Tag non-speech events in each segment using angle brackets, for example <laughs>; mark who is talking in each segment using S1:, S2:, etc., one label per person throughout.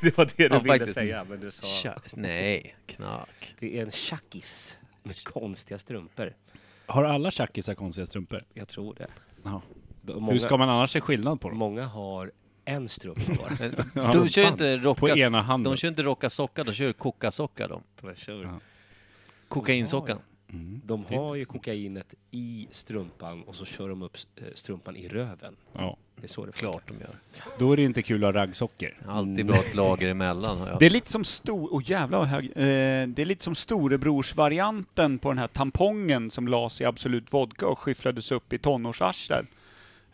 S1: Det var det du
S2: Ja,
S1: ville
S2: faktiskt.
S1: säga, men du sa
S2: Tja- Nej, knak.
S1: det är en tjackis med konstiga strumpor.
S3: Har alla tjackisar konstiga strumpor?
S1: Jag tror det.
S3: Ja.
S1: många-
S3: Hur ska man annars se skillnad på dem?
S1: Många har en strumpa kvar.
S3: men
S2: <laughs> De kör ju
S3: fan.
S2: inte rocka,
S3: På ena handen.
S2: de kör inte rocka socka, de kör koka socka de.
S1: De kör.
S3: Ja. Mm.
S2: Kokainsockan.
S1: De har ju kokainet i strumpan och så kör de upp eh, strumpan i röven.
S3: Ja.
S1: Det är så det funkar.
S2: Klart de gör.
S3: Då är det inte kul att ha raggsockor.
S2: Alltid bra ett lager emellan har jag.
S4: Det är lite som stor... Oh, jävlar vad hög, eh, Det är lite som storebrorsvarianten på den här tampongen som lades i Absolut Vodka och skyfflades upp i tonårsarslen.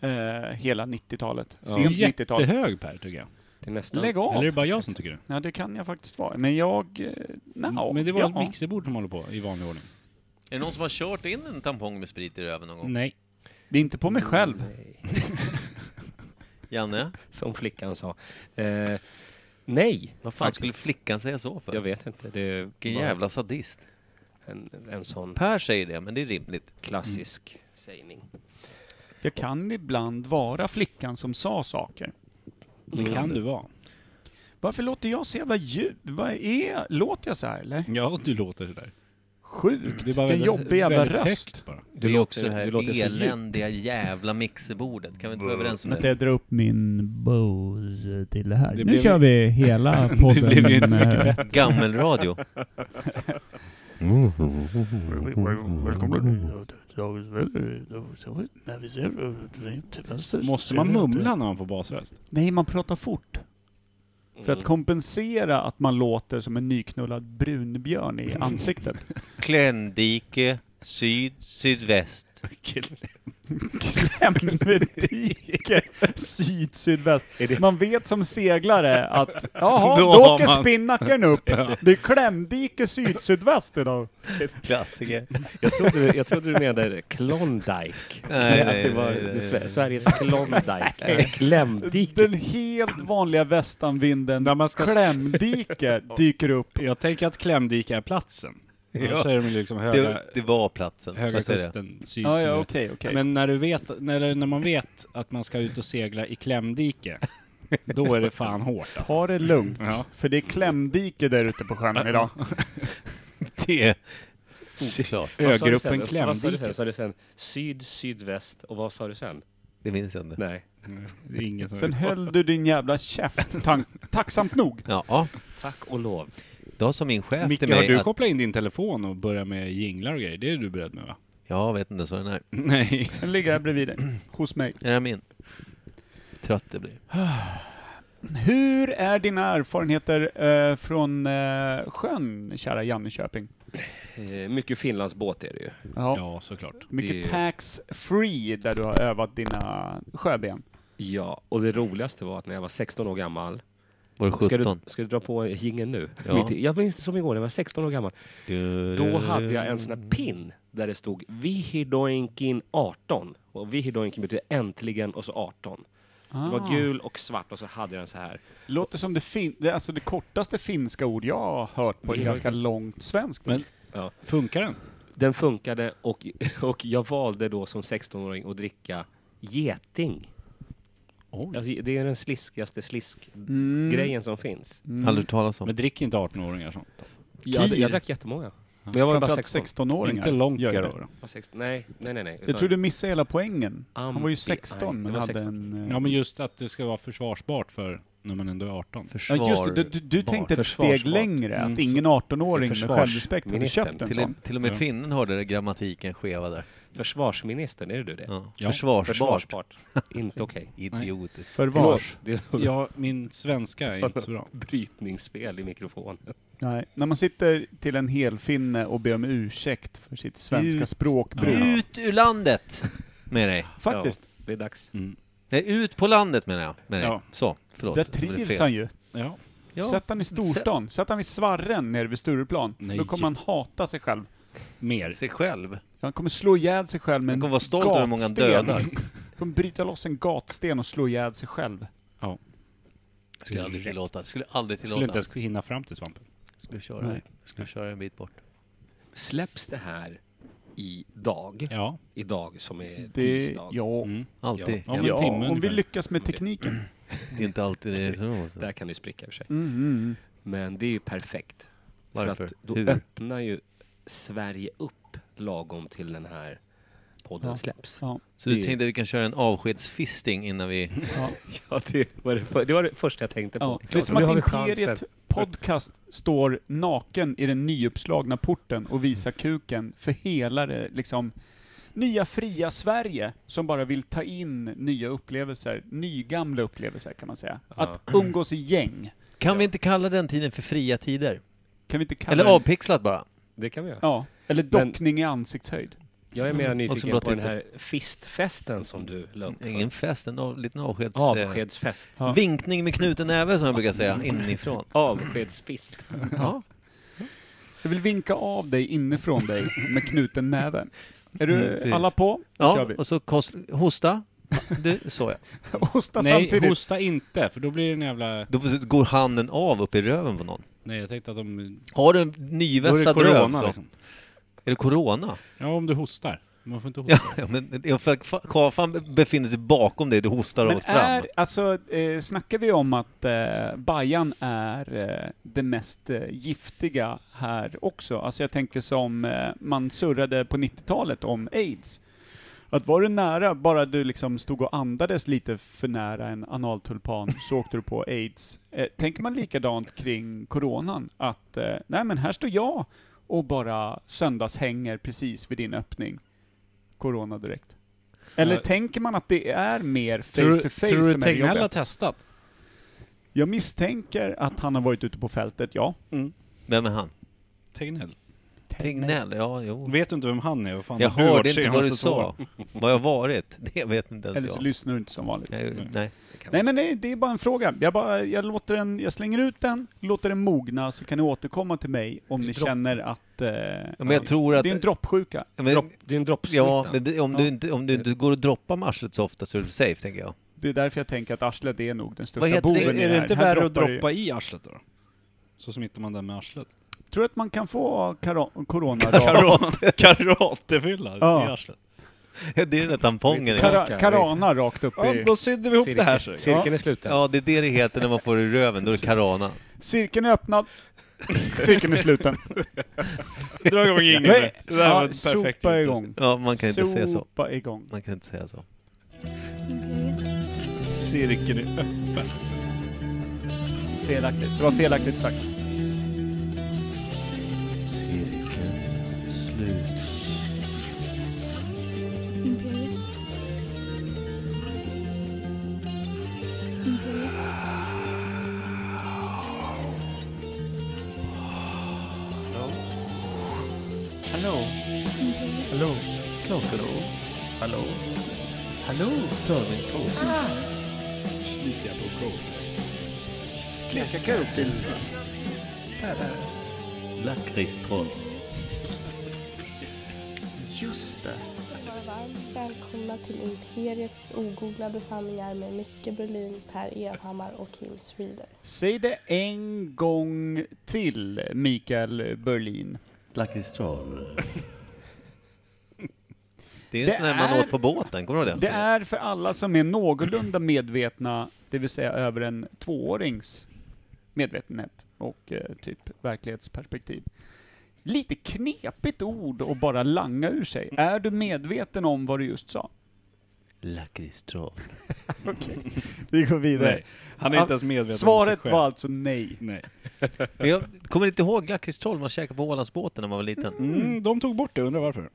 S4: Eh, hela 90-talet.
S3: Du är
S4: Sent 90-tal.
S3: jättehög Per, tycker jag.
S1: Det är nästan...
S4: Lägg
S3: Eller är det
S4: av!
S3: bara jag som tycker det?
S4: Ja, det kan jag faktiskt vara. Men jag... eh, nja,
S3: Men det var ett
S4: ja.
S3: mixerbord som håller på i vanlig ordning.
S2: Är det någon som har kört in en tampong med sprit i röven någon gång?
S3: Nej.
S4: Det är inte på
S3: Mm.
S4: mig själv.
S1: Nej,
S2: Janne?
S1: som flickan sa. Eh, nej,
S2: Vad fan skulle flickan säga så för?
S1: jag vet inte. Det var
S2: Vilken jävla sadist.
S1: en, en sån
S2: Per säger det, men det är rimligt.
S1: klassisk sägning.
S4: Jag kan ibland vara flickan som sa saker.
S3: Det kan du vara.
S4: Varför låter jag så jävla ljud? Vad är... Låter jag så här eller?
S3: Ja, du låter sådär.
S4: Sjukt!
S3: Det är bara
S4: Vilken
S3: väldigt-
S4: jobbig jävla
S3: väldigt
S4: röst.
S3: högt bara.
S2: Det är
S1: låter-
S2: också det
S1: du
S2: här
S1: låter så djup.
S2: eländiga jävla mixerbordet. Kan vi inte vara överens om
S5: Vänta,
S2: det?
S5: jag drar upp min Bose till det här.
S3: Det
S5: nu
S3: blev-
S5: kör vi
S3: <laughs>
S5: hela podden.
S3: blev ju inte mycket
S5: eh,
S2: Gammelradio.
S3: Måste man mumla när man får basröst?
S4: Nej, man pratar fort. För
S3: Mm.
S4: att kompensera att man låter som en nyknullad brunbjörn
S3: Mm.
S4: i
S3: <laughs>
S4: ansiktet.
S2: Kländike, syd, sydväst.
S4: Klämdike, syd, sydväst. Man vet som seglare att jaha,
S3: <laughs> Då
S4: då,
S3: har
S4: åker
S3: man- <laughs>
S4: spinnaken upp. Det är klämdike, syd, sydväst idag.
S2: Klassiker.
S1: Jag trodde, jag trodde du menade
S2: <laughs>
S1: Klondike.
S2: Nej,
S1: att
S2: nej,
S1: det var
S2: nej, nej,
S1: Sve-
S2: nej. <laughs>
S1: Sveriges Klondike. Klämdike.
S4: Den helt vanliga västanvinden,
S3: När man ska s- <laughs>
S4: klämdike, dyker upp.
S3: Jag tänker att Klämdike är platsen. Annars är de ju liksom höga,
S2: Det, det var platsen. får
S3: höga
S2: jag säga det?
S3: kusten, syd,
S4: Ja,
S3: syd.
S4: ja, okej, okej.
S3: Men när, du vet, när, när man vet att man ska ut och segla i <laughs> Klämdike, då är det fan hårt. alltså.
S4: Ta det lugnt,
S3: Ja.
S4: för det är klämdike där ute på sjön idag.
S2: Det är oklart.
S1: Vad sa du sen?
S3: Ögruppen
S1: Vad sa du sen?
S3: Klämdike.
S1: Sa du sen syd, sydväst och vad sa du sen?
S2: Det minns jag inte.
S1: Nej.
S3: <laughs> Det är ingen som
S4: Sen höll du din jävla käft, tan-
S3: <laughs>
S4: tacksamt nog.
S2: Ja,
S1: Tack och lov.
S2: då sa min chef
S3: Micke,
S2: till
S3: har
S2: mig
S3: du
S2: att...
S3: kopplat in din telefon och börjat med jinglar och grejer? Det är du beredd med va? <laughs>
S2: Jag vet inte, så den här.
S3: Nej.
S4: Den ligger här bredvid dig, hos mig.
S2: Är den min? Trött det blir.
S4: Hur är dina erfarenheter eh, från eh, sjön, kära Janneköping?
S1: Eh, Mycket Finlandsbåt är det ju.
S4: Ja.
S3: Ja, såklart.
S4: Mycket
S1: det-
S4: tax free där du har övat dina sjöben.
S1: Ja, och det roligaste var att när jag var 16 år gammal.
S2: Var det
S1: Ska du,
S2: 17?
S1: ska du dra på jingeln nu?
S2: Ja.
S1: Mitt i- Jag minns det som igår, när jag var 16 år gammal.
S2: Du-
S1: Då hade jag en sån här pin där det stod Vihidoinkin 18. Och Vihidoinkin betyder äntligen och så 18. Det
S4: Ah.
S1: var gul och svart och så hade jag den så här.
S4: Låter som det, fin- det, är alltså det kortaste finska ord jag har hört på ett
S1: Mm.
S4: ganska långt svenskt.
S3: Men-
S1: Ja.
S3: Funkar den?
S1: Den funkade och, <laughs> och jag valde då som 16-åring att dricka geting.
S3: Oj.
S1: Alltså, det är den sliskigaste sliskgrejen
S4: Mm.
S1: som finns.
S2: Aldrig talas om.
S3: Men drick inte 18-åringar sånt.
S1: Jag,
S4: Kir.
S1: jag drack jättemånga. Men jag var ju bara
S4: Framförallt
S1: 16.
S4: 16-åringar
S3: Inte
S4: gör
S3: Lonka
S4: ju
S3: då.
S4: det.
S3: då.
S1: Jag var 16. Nej, nej, nej. nej.
S4: Jag
S1: Utan-
S4: tror du missade hela poängen. Han var ju
S1: Ampi- nej,
S4: 16 men
S1: det var
S4: hade
S1: 16.
S4: en... eh,
S3: Ja, men just att det ska vara försvarsbart för när man ändå är 18.
S2: Försvar.
S4: Ja just det, du, du, du tänkte ett steg
S2: Försvarsbart.
S4: längre, att
S3: Mm,
S4: ingen 18-åring med
S1: Försvars-
S4: självrespekt hade
S1: ministern.
S4: köpt en
S2: Till,
S4: sån.
S2: till och med
S3: Ja.
S2: finnen hörde det, grammatiken skeva där.
S1: Försvarsministern, är det du det?
S2: Ja.
S3: Ja.
S2: Försvarsbart.
S1: Försvarsbart. Inte okej.
S4: <laughs>
S2: Idiotiskt.
S4: Förvars.
S1: Förlåt, <laughs> Det är
S3: Ja, min svenska är inte så bra.
S1: brytningsfel i mikrofonen.
S4: Nej, när man sitter till en helfinne och ber om ursäkt för sitt svenska
S2: Ut.
S4: språkbruk.
S3: Ja.
S2: Ut ur landet med dig.
S4: Faktiskt,
S1: Ja, det är dags.
S2: Nej, ut på landet menar jag. Med dig.
S3: Ja.
S2: Så, förlåt.
S4: där
S2: Det blev
S4: trivs
S2: fel.
S4: han ju.
S3: Ja.
S4: Sätt han i storstan, sätt han vid Svarren nere vid Stureplan.
S3: Nej.
S4: Då kommer han hata sig själv.
S3: <laughs> Mer.
S2: Sig själv.
S4: Han kommer slå ihjäl sig själv med
S2: Man
S4: en
S2: kommer vara stolt över hur många han dödar.
S4: Han kommer bryta loss en gatsten och slå ihjäl sig själv.
S2: Skulle aldrig tillåta. Skulle aldrig
S3: Skulle inte
S2: tillåta.
S3: ens hinna fram till svampen.
S2: Skulle köra, skulle köra en bit bort.
S1: Släpps det här idag?
S3: Ja.
S1: Idag som är
S4: Det,
S1: tisdag?
S4: ja.
S3: Mm.
S2: Alltid.
S3: Ja, men
S4: ja,
S3: timme
S4: om vi
S3: ungefär.
S2: Mm.
S4: lyckas med tekniken.
S2: Det är inte alltid det är så.
S1: Där kan det ju spricka i och för sig.
S4: Mm, mm, mm.
S1: Men det är ju perfekt. För
S2: Varför?
S1: att då
S2: Hur?
S1: öppnar ju Sverige upp lagom till den här podden
S4: Ja.
S1: släpps.
S4: Ja.
S2: Så du tänkte att vi kan köra en avskedsfisting innan vi...
S4: Ja.
S1: <laughs> Ja, det var det, för, det var det första jag tänkte på.
S4: Ja. Det är som
S1: Nu
S4: att
S1: har vi chansen.
S4: Imperiet Podcast står naken i den nyuppslagna porten och visar kuken för hela det liksom nya fria Sverige som bara vill ta in nya upplevelser, nygamla upplevelser kan man säga.
S1: Ja.
S4: Att umgås i gäng.
S2: Kan vi inte kalla den tiden för fria tider?
S4: Kan vi inte kalla
S2: Eller
S4: det?
S2: avpixlat bara.
S1: Det kan vi göra.
S4: Ja. Eller
S1: Men-
S4: dockning i ansiktshöjd.
S1: Jag är mer
S2: Också
S1: nyfiken
S2: bra
S1: på den
S2: titel.
S1: här fistfesten som du la upp. för.
S2: Ingen fest, en av, liten avskeds... eh,
S1: Avskedsfest.
S4: Ja.
S2: Vinkning med knuten näve som jag brukar säga, inifrån.
S1: Avskedsfist.
S2: Ja.
S4: Jag vill vinka av dig inifrån dig med knuten näve. Är du
S2: Mm, precis.
S4: alla på? Då kör
S2: ja
S4: vi.
S2: och så kost, hosta. Du, så ja.
S4: Hosta
S3: Nej,
S4: samtidigt.
S3: hosta inte, för då blir det en jävla...
S2: Då går handen av upp i röven på någon.
S3: Nej, jag tänkte att de...
S2: Har du en
S3: Då är det
S2: nyvässad röv
S3: corona
S2: så...
S3: liksom.
S2: Är det corona? <laughs>
S3: Ja, om du hostar. Man får inte hosta.
S2: Ja, ja, men ja, för att Kafan befinner sig bakom dig, du hostar
S4: Men
S2: rakt fram.
S4: är, alltså, eh, snackar vi om att eh, Bajan är eh, det mest eh, giftiga här också? Alltså jag tänker som eh, man surrade på 90-talet om AIDS. Att var du nära, bara du liksom stod och andades lite för nära en
S2: <laughs>
S4: analtulpan så åkte du på AIDS. Eh, tänker man likadant kring coronan? Att, eh, nej men här står jag och bara söndagshänger precis vid din öppning. Corona direkt. Eller
S3: Ja.
S4: tänker man att det är
S3: Tror
S4: mer face
S3: du-
S4: to face
S3: Tror du
S4: som är det
S3: Tegnell
S4: jobbiga?
S3: har testat?
S4: Jag misstänker att han har varit ute på fältet, ja.
S2: Vem är han?
S3: Tegnell?
S2: Tegnell? Ja, jo.
S3: Vet du inte vem han är? Vad fan
S2: Jag
S3: har alltså, du varit
S2: hörde inte vad du
S3: senaste
S2: sa.
S3: året?
S2: Vad jag varit? Det vet inte ens
S4: Eller så
S2: alltså, jag.
S4: lyssnar du inte som vanligt.
S2: Nej, nej.
S1: Det kan
S4: Nej
S1: man-
S4: men det, det är bara en fråga. Jag, bara, jag, låter den, jag slänger ut den, låter den mogna, så kan ni återkomma till mig om ni
S2: Dropp.
S4: känner att... Eh,
S2: men jag tror att...
S4: Det är en droppsjuka.
S2: Ja, men-
S1: Dropp, det är en droppsmitta.
S2: Ja, men det, om,
S4: Ja.
S2: Du inte, om du inte går och droppar med arslet så ofta så är du safe, tänker
S4: <laughs>
S2: jag.
S4: Det är därför jag tänker att arslet är nog den
S2: Vad
S4: största
S2: heter
S4: boven
S2: det?
S4: i det
S3: Är
S4: här.
S3: det inte
S4: Här
S3: värre att
S4: droppar det ju-
S3: droppa i arslet då? Så smittar man den med
S2: <laughs>
S3: arslet.
S4: Tror du att man kan få karo- corona?
S2: Karate!
S3: Karatefylla
S4: Ja.
S3: i arslet.
S2: det är den där tampongen.
S1: Kar-
S2: Ja.
S4: Kara- karana rakt upp
S3: Ja,
S4: i...
S3: då sydde vi ihop det här.
S1: Cirkel-
S3: säger jag.
S1: Cirkeln är sluten.
S2: ja, det är det det heter när man får det i röven. Då är det karana.
S4: Cirkeln är öppnad. Cirkeln är sluten.
S3: Ja, Dra <laughs> igång ingen.
S4: Nej,
S3: Det där var
S4: ja,
S3: ett perfekt alltså.
S4: sopa
S3: utrustning.
S4: igång.
S2: Ja, man kan inte säga så.
S4: Sopa igång.
S2: Man kan inte säga så.
S3: Cirkeln är öppen.
S4: Felaktigt. Det var felaktigt sagt.
S2: Cirkeln slut.
S6: Imperiet. Imperiet.
S4: Hallå. Hallå. Hallå. Hallå. Hallå.
S3: Slicka på kok.
S4: Slicka kuk till...
S2: Lakritstroll.
S4: Just det.
S7: vara varmt välkomna till Imperiet ogooglade sanningar med Micke Berlin, Per Evhammar och Kim Schreeder.
S4: Säg det en gång till, Mikael Berlin.
S2: Lakritstroll. Det är
S4: Det
S2: en sån där man
S4: är-
S2: åt på båten, kommer du ihåg
S4: Det är för alla som är någorlunda medvetna, det vill säga över en tvåårings medvetenhet och eh, typ verklighetsperspektiv. Lite knepigt ord att bara langa ur sig. Är du medveten om vad du just sa?
S2: Lakritstroll.
S4: Vi går vidare.
S3: Nej, han är inte ens medveten om sig
S4: Svaret
S3: själv.
S4: var alltså nej.
S3: Nej.
S2: Men jag kommer inte ihåg lakritstroll man käkade på Ålandsbåten när man var liten.
S3: Mm, de tog bort det, undrar varför.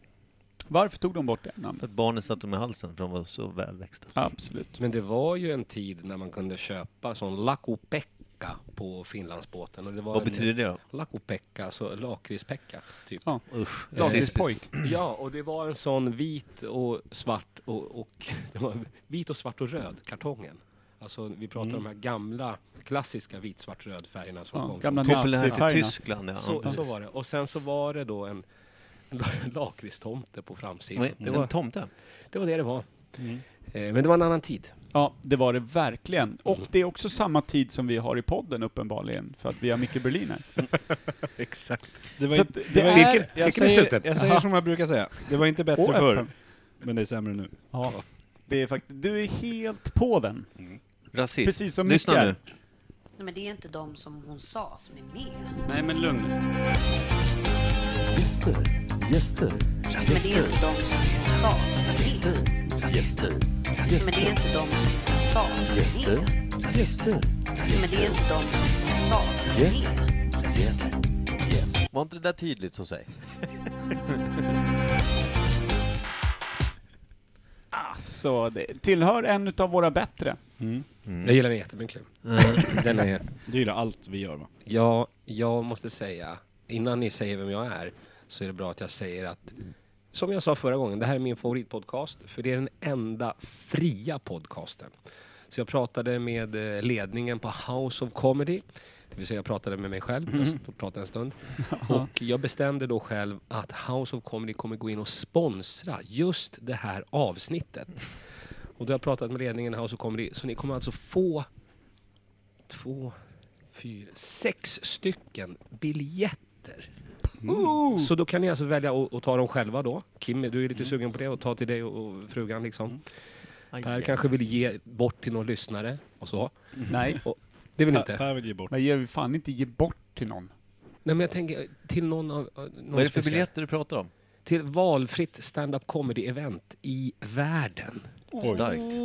S4: Varför tog de bort det namnet?
S2: För att barnen satt dem i halsen för de var så välväxta.
S4: Absolut.
S1: Men det var ju en tid när man kunde köpa sån lakopekka på Finlandsbåten. Och det var
S2: Vad
S1: en-
S2: betyder det då?
S1: Lakopekka, så lakritspekka, typ.
S4: Ja.
S2: Usch. rasistiskt.
S4: Lagringspojk.
S1: Ja, och det var en sån vit och svart och, och <laughs> det var vit och svart och röd, kartongen. Alltså vi pratar om de här gamla klassiska vit, svart, röd färgerna som
S4: Mm. Ja,
S1: kom
S4: gamla
S1: från
S2: Populärt i
S4: Nazifärgerna.
S2: Tyskland, ja.
S1: så,
S2: ja.
S1: så var det. Och sen så var det då en <laughs> la- lakritstomte på framsidan.
S2: Men,
S1: Det
S2: en
S1: var,
S2: tomte?
S1: det var det det var. Eh, Men det var en annan tid.
S4: Ja, det var det verkligen. Och det är också samma tid som vi har i podden uppenbarligen, för att vi har Micke Berlin <laughs> här.
S1: Exakt.
S3: Det
S4: Så
S3: var
S4: att
S3: inte,
S4: det
S3: det var
S4: är-
S3: inte,
S1: cirkeln är
S3: jag, säger,
S1: sluten.
S3: jag säger som jag brukar säga. Det var inte bättre
S4: Och
S3: förr,
S4: öppen.
S3: men det är sämre nu.
S4: Ja. Det är fakt- du är helt på den.
S8: Rasist.
S4: Precis som
S2: Lyssna
S4: Micke.
S2: nu.
S9: Nej, men det är inte de som hon sa som är med.
S3: Nej men lugn.
S9: Men det är inte de som hon sa som är med. Men det är inte de som hon sa som är med. Men det är inte de som hon sa som är med.
S2: Var inte det där tydligt så säg?
S4: Alltså, det tillhör en utav våra bättre.
S1: Jag gillar den jättemycket. den är,
S3: Du gillar allt vi gör va?
S1: ja, jag måste säga, innan ni säger vem jag är, så är det bra att jag säger att som jag sa förra gången, det här är min favoritpodcast, för det är den enda fria podcasten. Så jag pratade med eh, ledningen på House of Comedy, det vill säga jag pratade med mig själv, jag satt och pratade en stund. Och jag bestämde då själv att House of Comedy kommer gå in och sponsra just det här avsnittet. Och då har jag pratat med ledningen i House of Comedy, så ni kommer alltså få två, fyra, sex stycken biljetter. Mm. Så då kan ni alltså välja att, att ta dem själva då. Kim, du är lite sugen på det och ta till dig och, och frugan liksom. Per kanske vill ge bort till någon lyssnare och så.
S4: Nej,
S1: Och, det vill ni
S3: Per,
S1: inte?
S3: per vill ge bort.
S4: men jag vill fan inte ge bort till någon.
S1: Nej men jag tänker eh, till någon av... Någon
S2: Vad är det för
S1: speciell.
S2: biljetter du pratar om?
S1: Till valfritt stand-up comedy-event i världen.
S2: Starkt.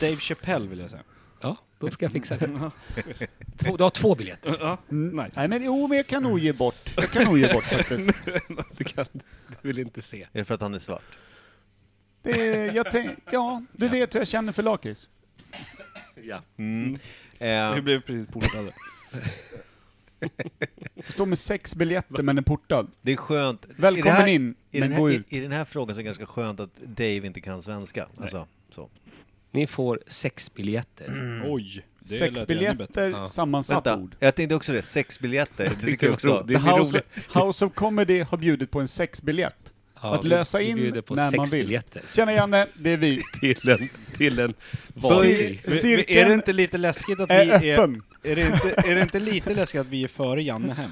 S3: Dave Chappelle vill jag säga.
S1: Ja, då ska jag fixa <laughs> det. Två, du har två biljetter. <laughs>
S3: Nej.
S4: Nej men jo, men jag kan nog ge bort. Jag kan nog ge bort faktiskt.
S1: Du, kan, du vill inte se.
S2: Är det för att han är svart?
S4: Det, är- jag tänk, ja, du vet hur jag känner för lakrits.
S3: Vi
S2: Eh,
S3: blev precis portade.
S4: Jag Står med sex biljetter men är portad.
S2: det är skönt. I det
S4: Välkommen
S2: här-
S4: in,
S2: I
S4: men
S2: den, här,
S4: gå
S2: i,
S4: ut.
S2: I den här frågan så är det ganska skönt att Dave inte kan svenska. Alltså, så.
S1: Ni får sex biljetter.
S3: Oj. Det lät
S4: Sex
S3: ännu bättre.
S4: biljetter, sammansatt
S2: Vänta,
S4: ord.
S2: jag tänkte också det. Sex
S4: <laughs>
S2: biljetter. Det tycker jag också.
S4: The House, House of Comedy har bjudit på en sexbiljett.
S1: Ja,
S4: att lösa
S1: vi- vi
S4: in
S1: bjuder på
S4: när
S1: sex
S4: man vill.
S1: biljetter.
S4: Tjena Janne, det är vi.
S1: till en, till en
S4: Böj-
S1: valfri.
S3: Vi- vi-
S4: Cirkeln
S3: Är det inte lite läskigt att vi
S4: är
S3: är...
S4: öppen.
S3: Är det inte, är det inte lite läskigt att vi är före Janne hem?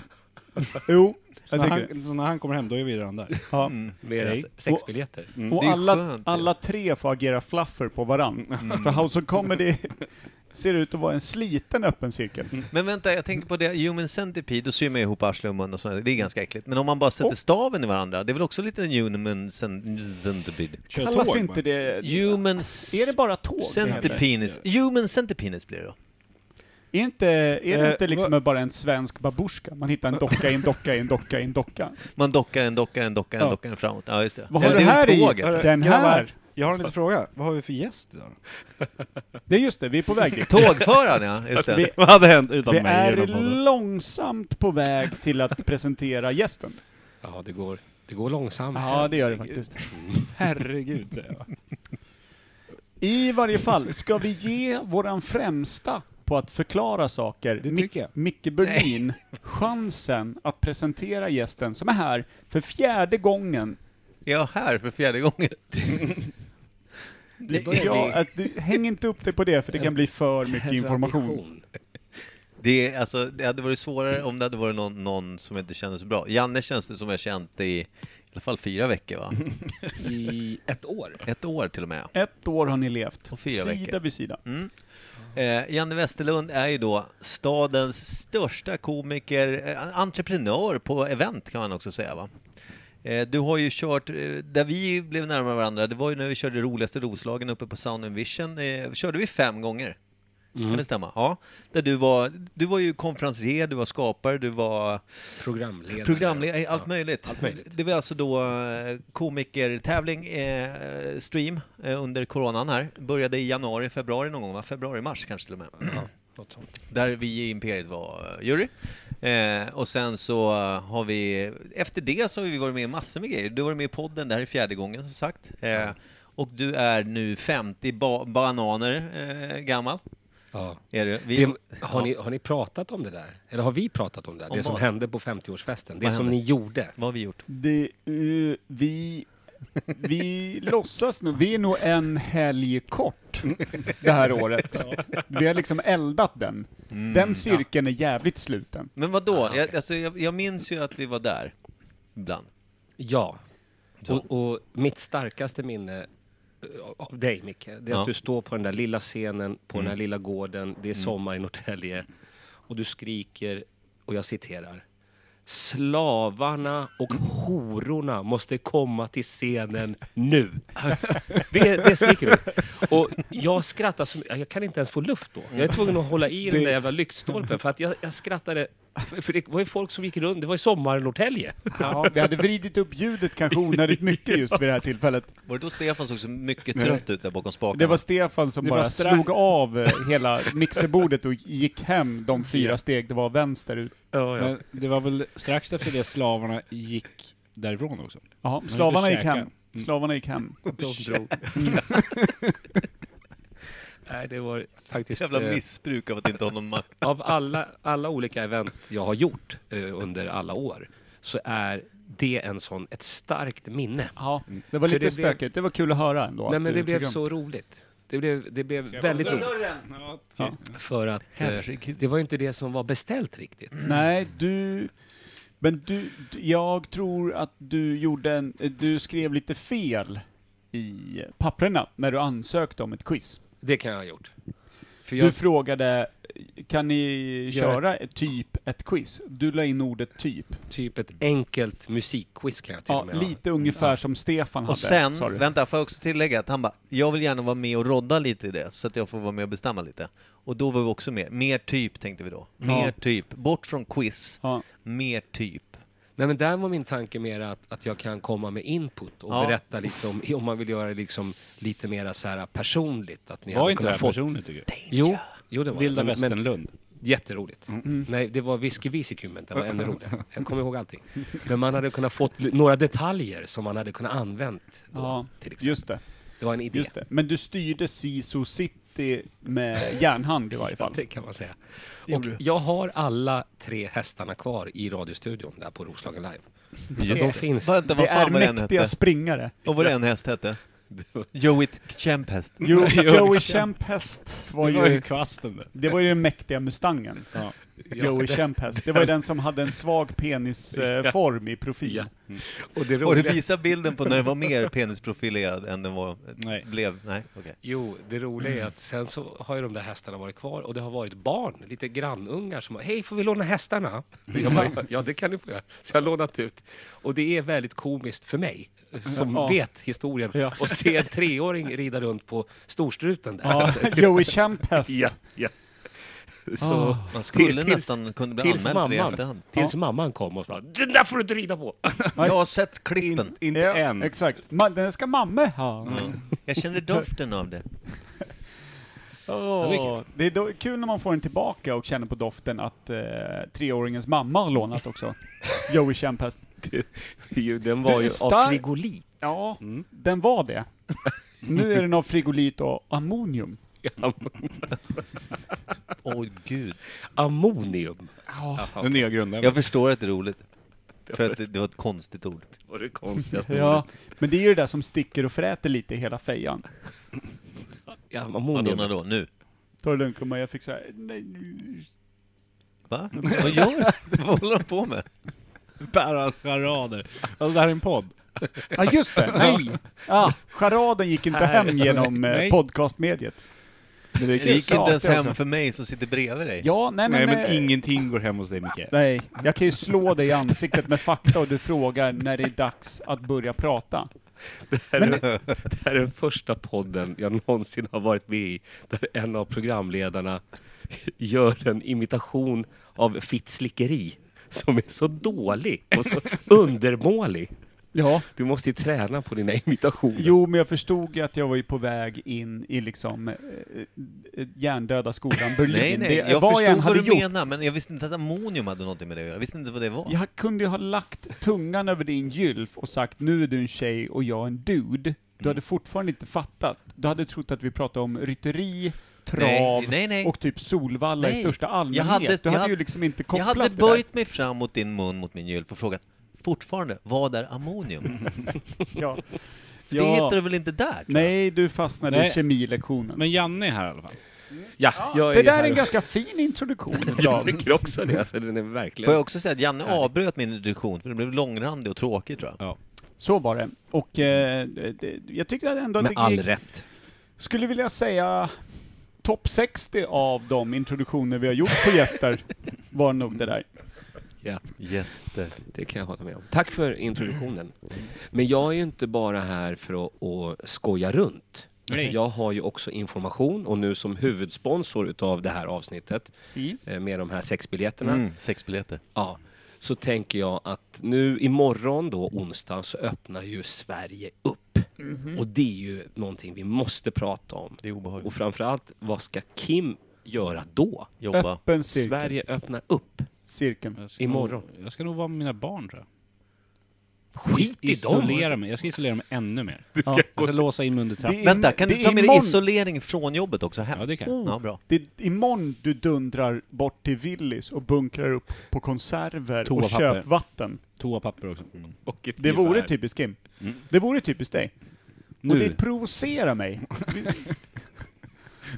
S4: Jo,
S3: Så
S4: jag
S3: när,
S4: tycker det.
S3: han, så när han kommer hem, då är vi redan där.
S4: Ja.
S1: Med deras sexbiljetter.
S4: Och
S2: Det är
S4: alla,
S2: skönt, ja.
S4: alla tre får agera fluffer på varann. För House of Comedy <laughs> ser ut att vara en sliten öppen cirkel.
S2: Men vänta, jag tänker på det. Human Centipede, då syr man ihop arsle och mun och sånt. Det är ganska äckligt. Men om man bara sätter staven i varandra, det är väl också lite en human cen- centipede?
S3: Kör
S4: Kallas
S3: tåg, bara.
S4: inte det...
S2: Human
S4: Är det bara tåg?
S2: Centerpenis. Human Centerpenis blir det då.
S4: Är inte, är det
S3: Eh,
S4: inte liksom bara en svensk babuska? Man hittar en docka i en docka i en docka i en docka.
S2: Man dockar en, dockar en, dockar en,
S4: Ja.
S2: dockar en framåt. Ja, just det.
S4: Vad har
S2: Eller
S4: det
S2: är
S4: här
S2: ju
S4: i?
S2: tåget.
S4: Har Den här!
S3: Jag har en liten fråga. Vad har vi för gäst idag?
S4: Det är just det, vi är på väg dit.
S2: Tågföraren, ja. Just det.
S4: Vi,
S3: <laughs> Vad hade hänt utan
S4: vi är långsamt på väg till att presentera gästen.
S1: Ja, det går, det går långsamt.
S4: Ja, det gör det faktiskt.
S3: Herregud, säger jag.
S4: I varje fall, ska vi ge våran främsta på att förklara saker,
S3: Det tycker jag.
S4: Micke Berlin, chansen att presentera gästen som är här för fjärde gången.
S2: Är jag här för fjärde gången?
S1: det börjar bli
S4: Ja, att du, häng inte upp dig på det, för det kan bli för mycket information.
S1: tradition.
S2: Det, är, alltså, det hade varit svårare om det hade varit någon, någon som inte kändes bra. Janne känns det som jag känt i i alla fall fyra veckor, va?
S1: I ett år.
S2: Ett år till och med.
S4: Ett år har ni levt,
S2: Och fyra
S4: sida
S2: veckor.
S4: vid sida.
S2: Mm. Eh, Janne Westerlund är ju då stadens största komiker, eh, entreprenör på event kan man också säga va? Eh, du har ju kört, eh, där vi blev närmare varandra, det var ju när vi körde roligaste Roslagen uppe på Sound and Vision, eh, körde vi fem gånger. Kan det stämma? Ja. Där du var, du var ju konferencier, du var skapare, du var
S1: Programledare.
S2: programledare, allt, möjligt.
S1: allt möjligt.
S2: Det var alltså då eh, komikertävling, eh, stream, eh, under coronan här. Började i januari, februari någon gång va? Februari, mars kanske till och med. <clears throat>
S1: Något sånt.
S2: Där vi i Imperiet var eh, jury. Eh, och sen så eh, har vi, efter det så har vi varit med i massor med grejer. Du har varit med i podden, det här är fjärde gången som sagt. Eh, och du är nu 50 ba- bananer eh, gammal.
S1: Ja.
S2: Är du. Vi,
S1: Det, har, ni, har ni pratat om det där? Eller har vi pratat om det? Där?
S2: Om
S1: Det som
S2: vad?
S1: hände på 50-årsfesten. Det
S2: Vad
S1: som
S2: hände?
S1: ni gjorde.
S2: Vad har vi gjort?
S4: Det, eh, vi, vi låtsas nu, vi är nog en helg kort det här året. Vi har liksom eldat den.
S1: Mm,
S4: Den cirkeln är jävligt sluten.
S2: Men vad
S1: Ah,
S2: då? jag, alltså, jag, jag minns ju att vi var där. Ibland.
S1: Ja. Och, och mitt starkaste minne eh, av dig Micke, det är
S2: Ja.
S1: att du står på den där lilla scenen, på den här lilla gården, det är sommar i Norrtälje och du skriker, och jag citerar, Slavarna och hororna måste komma till scenen nu. <laughs> Det, det skriker du. Och jag skrattar så mycket, jag kan inte ens få luft då. Jag är tvungen att hålla i den där jävla lyktstolpen för att jag, jag skrattade. För för det var ju folk som gick runt, det var ju sommar i Norrtälje.
S4: Ja, vi hade vridit upp ljudet kanske onödigt mycket just vid det här tillfället.
S2: Var det då Stefan såg så mycket trött ut där bakom spakarna?
S4: Det var Stefan som
S3: Det
S4: bara
S3: var stra-
S4: slog av eh, hela mixerbordet och gick hem de fyra steg det var vänster ut.
S3: Men det var väl strax efter det slavarna gick därifrån också?
S4: Jaha,
S3: Men
S4: slavarna
S3: du
S4: gick hem.
S3: käkar.
S1: Mm.
S4: Slavarna gick hem.
S1: Nej, det var faktiskt...
S2: Jävla
S1: eh,
S2: missbruk av att inte ha någon makt.
S1: av alla, alla olika event jag har gjort eh, under alla år så är det en sån, ett starkt minne.
S4: Ja, det var
S1: Mm. För
S4: lite
S1: det blev-
S4: stökigt. Det var kul att höra ändå.
S1: Nej
S4: att
S1: men
S4: du
S1: det blev
S4: tycker om-
S1: så roligt. Det blev, det blev väldigt roligt. För att eh,
S2: Herregud.
S1: det var ju inte det som var beställt riktigt.
S4: Nej, du... Men du, du- jag tror att du gjorde en... eh, Du skrev lite fel i papperna när du ansökte om ett quiz.
S1: Det kan jag ha gjort. För
S4: Du
S1: jag,
S4: frågade, kan ni
S1: Gör
S4: köra ett... typ ett quiz? Du la in ordet typ.
S1: typ ett enkelt musikquiz kan jag till
S4: Ja,
S1: och med ha.
S4: lite ungefär som Stefan hade.
S2: Och sen,
S4: sa du.
S2: vänta, får jag också tillägga att han bara, jag vill gärna vara med och rodda lite i det, så att jag får vara med och bestämma lite. Och då var vi också med. Mer typ tänkte vi då. Mer
S4: Ja.
S2: typ. Bort från quiz.
S4: Ja.
S2: Mer typ.
S1: Nej men där var min tanke mer att, att jag kan komma med input och
S2: Ja.
S1: berätta lite om, om man vill göra det liksom lite mera så här personligt. Att ni
S3: Var
S1: hade
S3: inte det
S1: kunnat
S3: här
S1: fått-
S3: personligt tycker du?
S1: Jo, jo det var
S3: Vilda
S1: det. Men- men-
S3: Västernlund.
S1: Jätteroligt.
S4: Mm.
S1: Nej, det var whisky visikummen, det var ännu
S4: <laughs>
S1: roligare. Jag kommer ihåg allting. Men man hade kunnat fått li- några detaljer som man hade kunnat använt då,
S4: Ja,
S1: till exempel.
S4: Just det,
S1: det var en idé.
S4: just det. Men du styrde Sisu City med järnhand i varje fall.
S1: <laughs> Det kan man säga. Och jag har alla tre hästarna kvar i radiostudion där på Roslagen Live. Så de finns.
S2: Vänta,
S4: Det
S2: vad
S4: är
S2: fan var den
S4: mäktiga
S2: hette?
S4: springare.
S2: Och vad den häst hette? Joey Kämphäst.
S4: Jo, Joey Kemphäst var
S3: Det var ju
S4: ju...
S3: kvasten där.
S4: Det var ju den mäktiga Mustangen.
S3: Ja.
S4: Joey Kemphäst. Det var ju den som hade en svag penisform i profil.
S1: Och det
S2: Och du
S1: roliga,
S2: visar bilden på när den var mer penisprofilerad än den var,
S3: Nej.
S2: blev. Nej, okej.
S1: jo, det roliga
S4: Mm.
S1: är att sen så har ju de där hästarna varit kvar och det har varit barn, lite grannungar som har Hej, får vi låna hästarna?
S4: Mm.
S1: Jag bara, ja, det kan ni få göra. Så jag har lånat ut. Och det är väldigt komiskt för mig som
S4: Ja.
S1: vet historien
S4: Ja.
S1: och se en treåring rida runt på storstruten där.
S4: Ja, <laughs> Joey Kemphäst.
S1: Ja, ja. Så,
S2: Man skulle
S1: till- tills-
S2: nästan kunna bli
S1: tills
S2: anmäld för det i
S1: mamman,
S2: efterhand.
S1: Tills mamman kom och sa Den där får du inte rida på!
S2: Jag har sett klippen.
S3: Inte
S4: Ja,
S3: än.
S4: Exakt. Man, den ska mamma ha.
S2: Jag
S4: <laughs>
S2: känner doften av det.
S4: Åh, Det är då, kul när man får den tillbaka och känner på doften att eh, treåringens mamma har lånat <laughs> också. Joey Kemphäst.
S1: Den
S4: var ju av Mm.
S1: frigolit.
S4: Ja, den var det. Nu är den av frigolit och ammonium.
S2: Åh gud.
S1: Ammonium.
S3: Den nya grundaren.
S2: Jag förstår att det är
S4: <laughs>
S2: roligt. För att det, det var ett konstigt ord.
S1: Var det konstigaste
S4: Ja, men det är ju det där som sticker och fräter lite i hela fejan.
S1: Ja,
S2: Madonna
S1: ammonium.
S2: då, nu.
S4: Ta det lugnt gumman, jag fick så här. Nej, nu- <laughs>
S2: Va? Vad gör du? <laughs> Vad håller de på med?
S3: bär hans charader. Alltså det här är en podd.
S4: Ja ah, just det, nej! Ah, charaden gick inte hem genom eh,
S3: Nej.
S4: podcastmediet.
S2: Det gick inte ens
S4: Saker
S2: hem
S4: också.
S2: för mig som sitter bredvid dig.
S4: Ja, nej men...
S3: Nej men
S4: eh,
S3: ingenting går hem hos dig Micke.
S4: Nej, jag kan ju slå dig i ansiktet med fakta och du frågar när det är dags att börja prata.
S1: <laughs> Det här är den första podden jag någonsin har varit med i där en av programledarna gör en imitation av fittslickeri som är så dålig och så undermålig.
S4: Ja.
S1: Du måste ju träna på dina imitationer.
S4: Jo, men jag förstod ju att jag var ju på väg in i liksom eh, eh, hjärndöda skolan Berlin.
S2: Nej, nej,
S4: Det
S2: jag
S4: var
S2: förstod
S4: än
S2: vad
S4: hade
S2: du
S4: gjort.
S2: menar, men jag visste inte att ammonium hade någonting med det att göra. Jag visste inte vad det var.
S4: Jag kunde ju ha lagt tungan över din gylf och sagt nu är du en tjej och jag är en dude.
S2: Mm.
S4: Du hade fortfarande inte fattat. Du hade trott att vi pratade om rytteri, trav
S2: Nej, nej, nej.
S4: och typ Solvalla i
S2: Nej.
S4: största allmänhet.
S2: Jag hade-
S4: du
S2: jag
S4: hade
S2: hade-
S4: ju liksom inte
S2: Jag
S4: kopplat
S2: hade
S4: det där.
S2: böjt mig fram mot din mun, mot min gylf och frågat fortfarande, vad är
S4: <laughs>
S2: ammonium?
S4: <laughs> Ja.
S2: För
S4: Ja.
S2: det hittar du väl inte där? tror jag.
S4: Nej, du fastnade i
S3: Nej.
S4: kemilektionen.
S3: Men Janne är här i alla fall.
S1: Ja, jag
S4: det
S1: ju
S4: där
S1: här
S4: är en
S1: och-
S4: ganska fin
S2: <laughs>
S4: introduktion
S1: Jag
S4: utav...
S1: tycker också det. Alltså, den är verkligen...
S2: Får jag också säga att Janne avbröt min introduktion, för den blev långrandig och tråkig tror jag.
S3: Ja.
S4: Så var det. Och eh, det, jag tycker att ändå att
S1: Med
S4: det
S1: all
S4: gick-
S1: rätt.
S4: skulle vilja säga topp 60 av de introduktioner vi har gjort
S2: <laughs>
S4: på gäster var nog det där.
S2: Gäster.
S1: Det kan jag hålla med om. Tack för introduktionen. Men jag är ju inte bara här för att, att skoja runt.
S3: Nej.
S1: Jag har ju också information och nu som huvudsponsor utav det här avsnittet eh, med de här sex biljetterna.
S2: Mm, sex biljetter.
S1: Ja, så tänker jag att nu imorgon då onsdag så öppnar ju Sverige upp. Och det är ju någonting vi måste prata om.
S2: Mhm. Det är obehagligt.
S1: Och framförallt, vad ska Kim göra då?
S2: Jobba.
S4: Öppen cirkel.
S1: Sverige öppnar upp.
S4: Cirkeln.
S3: Jag ska
S1: Imorgon.
S3: Nog, jag ska nog vara med mina barn tror jag.
S1: Skit i
S3: Isolera
S1: dem! alltså.
S3: mig. Jag ska isolera mig ännu mer. ja. Jag ska låsa in mig under
S4: Det
S3: trappan.
S4: är
S2: Vänta,
S4: im-
S2: kan
S4: det
S2: du
S4: är
S2: ta med dig
S4: imorgon- Oh!
S2: isolering från jobbet också hem?
S3: Ja, det kan jag.
S2: Ja, bra.
S4: Det är imorgon du dundrar bort till Willys och bunkrar upp på konserver och
S3: Toapapper.
S4: köpvatten.
S3: Toapapper också. Mm.
S1: Och ett
S4: Det
S1: gevär.
S4: vore typiskt Kim.
S2: Mm.
S4: Det vore typiskt dig. Och
S3: Nu.
S4: det
S2: <laughs>
S4: provocerar mig.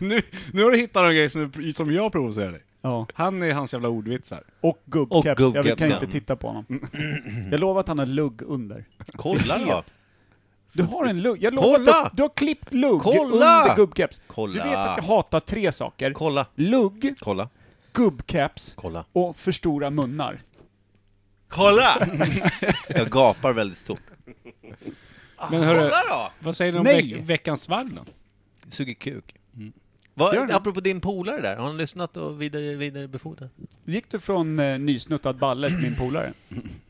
S3: Nu, nu har du hittat en grej som, du- som jag provocerar dig.
S4: Ja.
S3: Han är hans jävla ordvitsar.
S4: Och gubbkeps. Jag
S2: gubbkeps,
S4: kan
S2: ja.
S4: inte titta på honom.
S2: Mm.
S4: Jag lovar att han har lugg under.
S2: Kolla då!
S4: Du har en lugg. Jag lovar
S2: Kolla!
S4: Att du, du har klippt lugg
S2: Kolla!
S4: under gubbkeps.
S2: Kolla!
S4: Du vet att jag hatar tre saker.
S2: Kolla!
S4: Lugg,
S2: Kolla!
S4: gubbkeps
S2: Kolla!
S4: och för stora munnar.
S2: Kolla! <laughs> jag gapar väldigt stort.
S1: Ah,
S3: Men hörru,
S2: Kolla då!
S3: vad säger du om
S4: Nej.
S3: veck, veckans varv då?
S2: Suger kuk. Vad-
S4: Mm. Gör det.
S2: apropå din polare där, har han lyssnat och vidare, vidare befordrat?
S4: Gick du från eh, nysnuttad balle till min polare?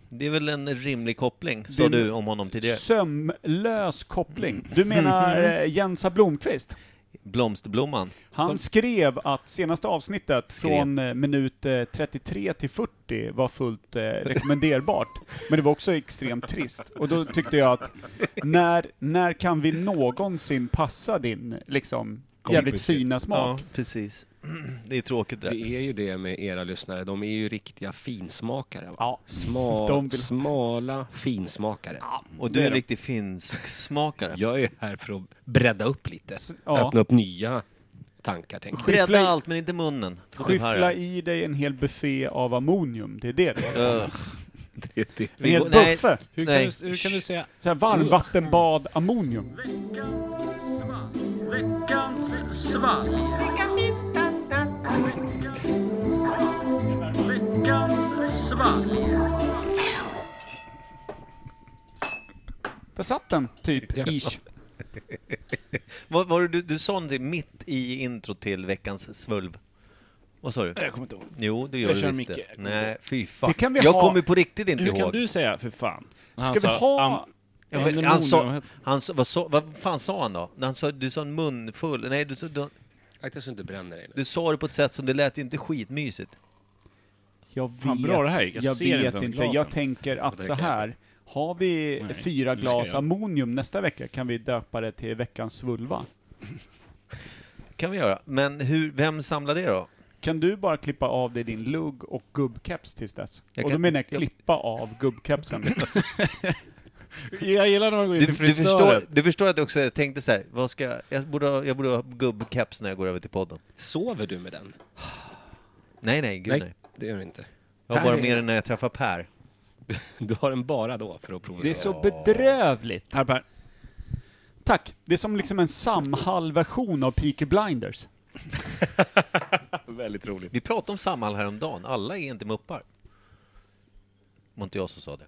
S2: Det är väl en rimlig koppling, sa
S4: Din-
S2: du om honom tidigare.
S4: Sömlös koppling. Du menar
S2: Mm.
S4: eh, Jensa Blomqvist?
S2: Blomsterblomman.
S4: Han skrev att senaste avsnittet
S2: Skrev.
S4: från eh, minut eh, 33 till 40 var fullt eh, rekommenderbart. Men det var också extremt trist. Och då tyckte jag att när, när kan vi någonsin passa din liksom jävligt fina smak?
S2: precis. Det är tråkigt det där.
S1: Det är ju det med era lyssnare, de är ju riktiga finsmakare. Va?
S4: Ja.
S1: Smal,
S4: De vill-
S1: Smala finsmakare.
S2: Och du är en riktig finsk smakare.
S1: Jag är här för att bredda upp lite.
S4: S- ja.
S1: Öppna upp nya tankar, tänker jag.
S2: Bredda
S4: Skyffla i-
S2: allt, men inte munnen.
S4: Skyffla i dig en hel buffé av ammonium, det är det. det. är.
S2: Ugh.
S4: <laughs> En hel
S2: går- nej.
S4: buffé.
S3: Hur kan,
S2: Nej.
S3: du, hur kan du säga...
S4: Så här varmvattenbad ammonium. Där satt den, typ. Ish.
S2: Vad var det du, du sa någonting mitt i intro till veckans svulv? Vad sa du?
S3: Jag kommer inte ihåg.
S2: Jo, det gör
S3: Jag
S2: du
S3: kör
S2: visst
S3: Micke.
S2: det.
S3: Jag kommer
S2: Nej, fy fan.
S4: Det kan vi
S2: jag
S4: ha-
S2: kommer på riktigt inte
S3: Hur kan
S2: ihåg.
S3: du säga för fan? När han
S4: Ska vi
S3: sa
S4: ha...
S3: am-
S2: Ja, men alltså- han sa,
S3: anemonium, vad heter
S2: han sa, vad, sa, vad fan sa han då? Han sa, du sa en munfull. Nej, du, sa- du,
S1: Akta så du inte bränner dig nu.
S2: du sa det på ett sätt som det lät ju inte skitmysigt.
S4: Jag vet,
S3: Fan, bra det här gick. Jag
S4: jag
S3: ser inte
S4: vet
S3: ens
S4: inte.
S3: glasen.
S4: Jag tänker att så här, har vi
S3: Nej,
S4: fyra
S3: nu ska jag
S4: glas
S3: göra.
S4: ammonium nästa vecka kan vi döpa det till veckans svulva.
S2: kan vi göra. Men hur, vem samlar det då?
S4: Kan du bara klippa av dig din lugg och gubbkeps tills dess?
S2: Jag
S4: och då
S2: kan-
S4: menar jag
S2: jag-
S4: klippa av gubbkepsen.
S2: <laughs>
S3: Jag gillar när man går in
S2: Du,
S3: till
S2: du,
S3: frisören.
S2: förstår, du förstår att jag också tänkte så här, vad ska, jag- jag, borde ha, jag borde ha gubbkeps när jag går över till podden.
S1: Sover du med den?
S2: Nej, nej, gud nej.
S1: det gör du inte.
S2: Jag har bara
S1: Nej.
S2: med den när jag träffar Per.
S1: Du har den bara då för att provocera.
S4: Det är så bedrövligt.
S3: Här Per.
S4: Tack. Det är som liksom en Samhall-version av Peaky Blinders.
S2: Vi pratade om Samhall häromdagen, alla är inte muppar. Det var inte jag som sa det.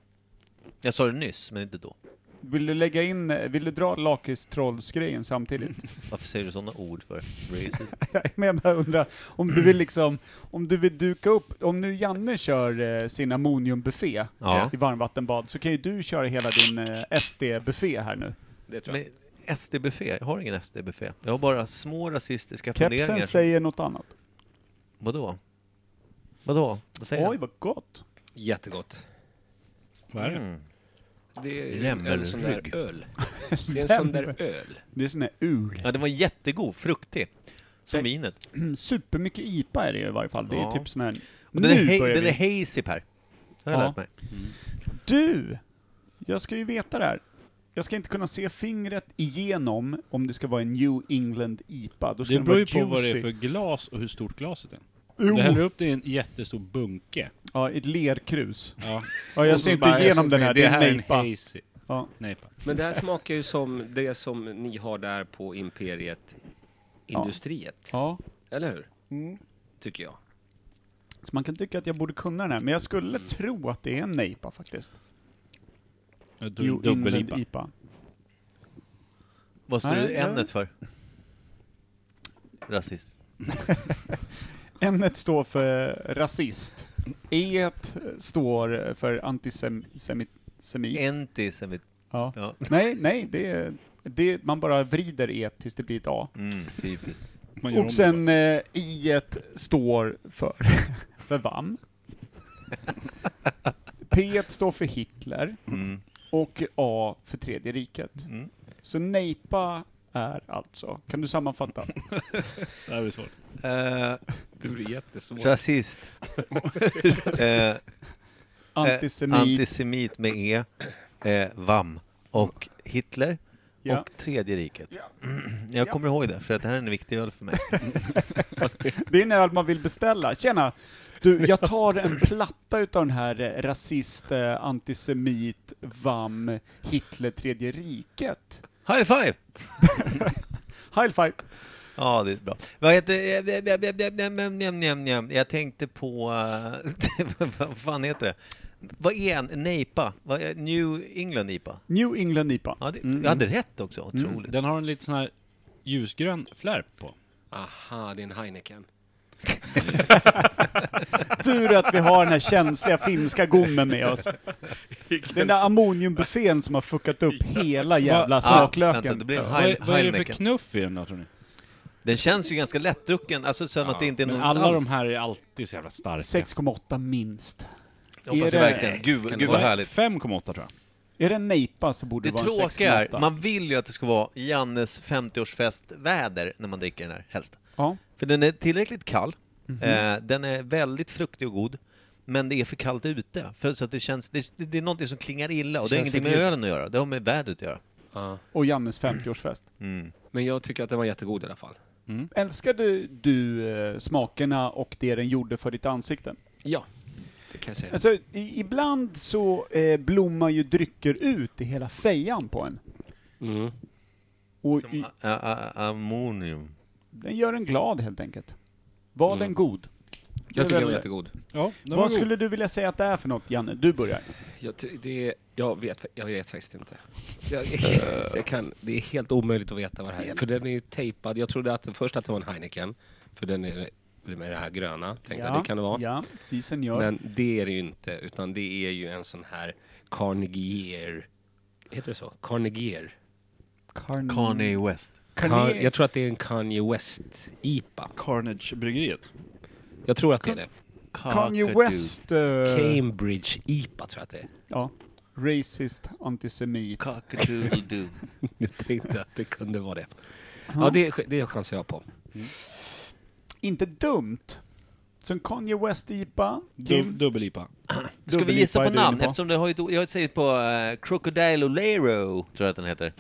S2: Jag sa det nyss, men inte då.
S4: Vill du lägga in, eh, vill du dra lakritstrolls-grejen samtidigt?
S2: <laughs> Varför säger du sådana ord för?
S4: <laughs>
S2: Racist.
S4: Men jag bara undrar, om du vill liksom, om du vill duka upp, om nu Janne kör eh, sin ammoniumbuffé
S2: Ja.
S4: eh, i varmvattenbad, så kan ju du köra hela din eh, SD-buffé här nu.
S1: Det tror jag.
S2: Men SD-buffé, jag har ingen SD-buffé. Jag har bara små rasistiska
S4: Kepsen
S2: funderingar.
S4: säger något annat.
S2: Vadå? Vadå? Vad säger
S4: Oj,
S2: han?
S4: vad gott!
S1: Jättegott.
S3: Vad är det?
S2: Mm.
S1: Det är en
S2: Lämmelrygg.
S1: sån där öl. Det är en sån där öl.
S4: Det är sån där ul.
S2: Ja, den var jättegod, fruktig. Som
S4: Nej.
S2: vinet.
S4: Mm, Supermycket IPA är det ju i varje fall. Det är
S2: Ja.
S4: typ sån här...
S2: Och den, är
S4: Nu
S2: hej,
S4: börjar
S2: den är
S4: vi!
S2: hazy Per. Det har jag
S4: Ja.
S2: lärt mig.
S4: Du! Jag ska ju veta det här. Jag ska inte kunna se fingret igenom om det ska vara en New England IPA. Då ska
S3: Det
S4: den
S3: beror ju
S4: vara
S3: på vad det är
S4: juicy.
S3: för glas och hur stort glaset är.
S4: Jo.
S3: Om du häller upp det i en jättestor bunke.
S4: Ja, ett lerkrus.
S3: Ja.
S4: Ja, jag ser inte igenom den här, det är en
S3: här är en
S4: nejpa.
S3: hazy.
S4: Ja.
S3: Nej, pa.
S1: Men det här smakar ju som det som ni har där på Imperiet
S4: Ja.
S1: Industriet.
S4: ja. Mm.
S1: Eller hur? Tycker jag.
S4: Så man kan tycka att jag borde kunna den här, men jag skulle tro att det är en nejpa faktiskt. New England
S3: Dubbel-IPA.
S4: IPA.
S2: Vad står
S4: Nej,
S2: det
S4: jag-
S2: ämnet för? Rasist.
S4: N står för rasist. E står för antisemit. Semi.
S2: Antisemit.
S4: Ja.
S2: Ja.
S4: Nej, nej, det är, det, är- man bara vrider E tills det blir ett A.
S2: Mm, typiskt.
S3: Man gör om
S4: Och sen eh, I står för, <laughs> för VAM. P står för Hitler.
S2: Mm.
S4: Och A för Tredje riket.
S2: Mm.
S4: Så nejpa är alltså, kan
S3: <laughs>
S4: du
S3: Eh,
S4: sammanfatta?
S3: det. Det här blir svårt.
S2: Eh,
S1: Det blir jättesvårt.
S2: rasist. <laughs> Eh,
S4: Antisemit.
S2: Eh, antisemit med E. Eh, VAM. Och Hitler.
S4: Ja.
S2: Och Tredje riket. <clears throat> Jag kommer ihåg det, för att det här är en viktig öl för mig.
S4: Det är en öl man vill beställa. Tjena!
S3: <laughs>
S4: Du, jag tar en platta utav den här eh, rasist, eh, antisemit, VAM, Hitler, Tredje riket.
S2: High five!
S4: High five!
S2: Ja, det är bra. Vad heter... eh, eh, eh, eh, eh, eh, eh, eh, eh, eh. Jag tänkte på... eh, <laughs> Vad fan heter det? Vad är en en NEIPA? Vad är- New England IPA?
S4: New England IPA.
S2: Ja, det,
S3: Mm.
S2: Jag hade rätt också. Otroligt.
S3: Den har en lite sån här ljusgrön flärp på.
S1: Aha, det är en Heineken.
S4: Tur att vi har den här känsliga finska gommen med oss. Den där ammoniumbuffén som har fuckat upp hela jävla
S3: Va-
S4: smaklöken.
S2: vänta, det blir en
S3: Vad är,
S2: Hein-
S3: vad är det för
S2: Heineken.
S3: knuff i den då tror ni?
S2: Den känns ju ganska lättdrucken, alltså sen att det inte är någon
S3: Men alla
S2: alls.
S3: de här är alltid så jävla starka.
S4: 6,8 minst.
S2: Jag hoppas
S4: är det-
S2: verkligen. Gud, gud vad
S3: Var det
S2: härligt.
S3: 5,8 tror jag.
S4: Är det en nejpa så borde
S2: Det
S4: det, vara en
S2: tråkiga är,
S4: 6,8.
S2: man vill ju att det ska vara Jannes 50-årsfest-väder när man dricker den här, helst.
S4: Ja.
S2: För den är tillräckligt kall,
S4: Mhm.
S2: eh, den är väldigt fruktig och god, men det är för kallt ute. För så att det känns, det, det är någonting som klingar illa och det har
S1: Känns
S2: ingenting med
S1: lite-
S2: ölen att göra, det har med vädret att göra.
S1: Ja.
S4: Och Jannes 50-årsfest.
S2: Mm.
S1: Men jag tycker att den var jättegod i alla fall.
S4: Älskade du eh, smakerna och det den gjorde för ditt ansikte?
S1: Ja, det kan jag säga.
S4: Alltså, i, ibland så eh, blommar ju drycker ut i hela fejan på en.
S1: Mm.
S4: Och
S2: Som
S4: i,
S2: a- a- a- ammonium.
S4: den gör en glad helt enkelt.
S2: Mm.
S4: Var den god?
S1: Jag tycker den var
S4: väl-
S1: jättegod.
S3: Ja, den
S4: Vad skulle du vilja säga att det är för något, Janne? Du börjar.
S1: Jag, ty- det är, jag, vet, jag vet faktiskt inte. <laughs> Jag, jag kan, det är helt omöjligt att veta vad det här är. För den är ju tejpad. Jag trodde att, först att det var en Heineken. För den är med det här gröna. Tänkte jag, det kan det vara.
S4: Ja, si senor.
S1: Men det är det ju inte, utan det är ju en sån här Carnegie, heter det så? Carnegie.
S4: Carn...
S2: Kanye
S4: Mm.
S2: West.
S1: Car-
S4: Carne...
S1: jag tror att det är en Kanye West-IPA.
S3: Carnage-bryggeriet?
S1: Jag tror att det är det.
S4: Kanye
S2: Cockatoo.
S4: West... eh,
S1: Cambridge-IPA tror jag att det är.
S4: ja. Racist, antisemit. <laughs>
S2: Cockadoodledoo.
S1: <laughs> Jag tänkte att det kunde vara det. Ja, det, det chansar jag på.
S4: Inte dumt. Så en Kanye West-IPA.
S3: Du, Dubbel-IPA.
S2: Ska vi
S4: Dubbel
S2: gissa
S4: IPA
S2: på
S4: är du
S2: namn?
S4: inne på.
S2: Eftersom det har ju, jag har ju sagt på eh, Crocodile Olero, tror jag att den heter.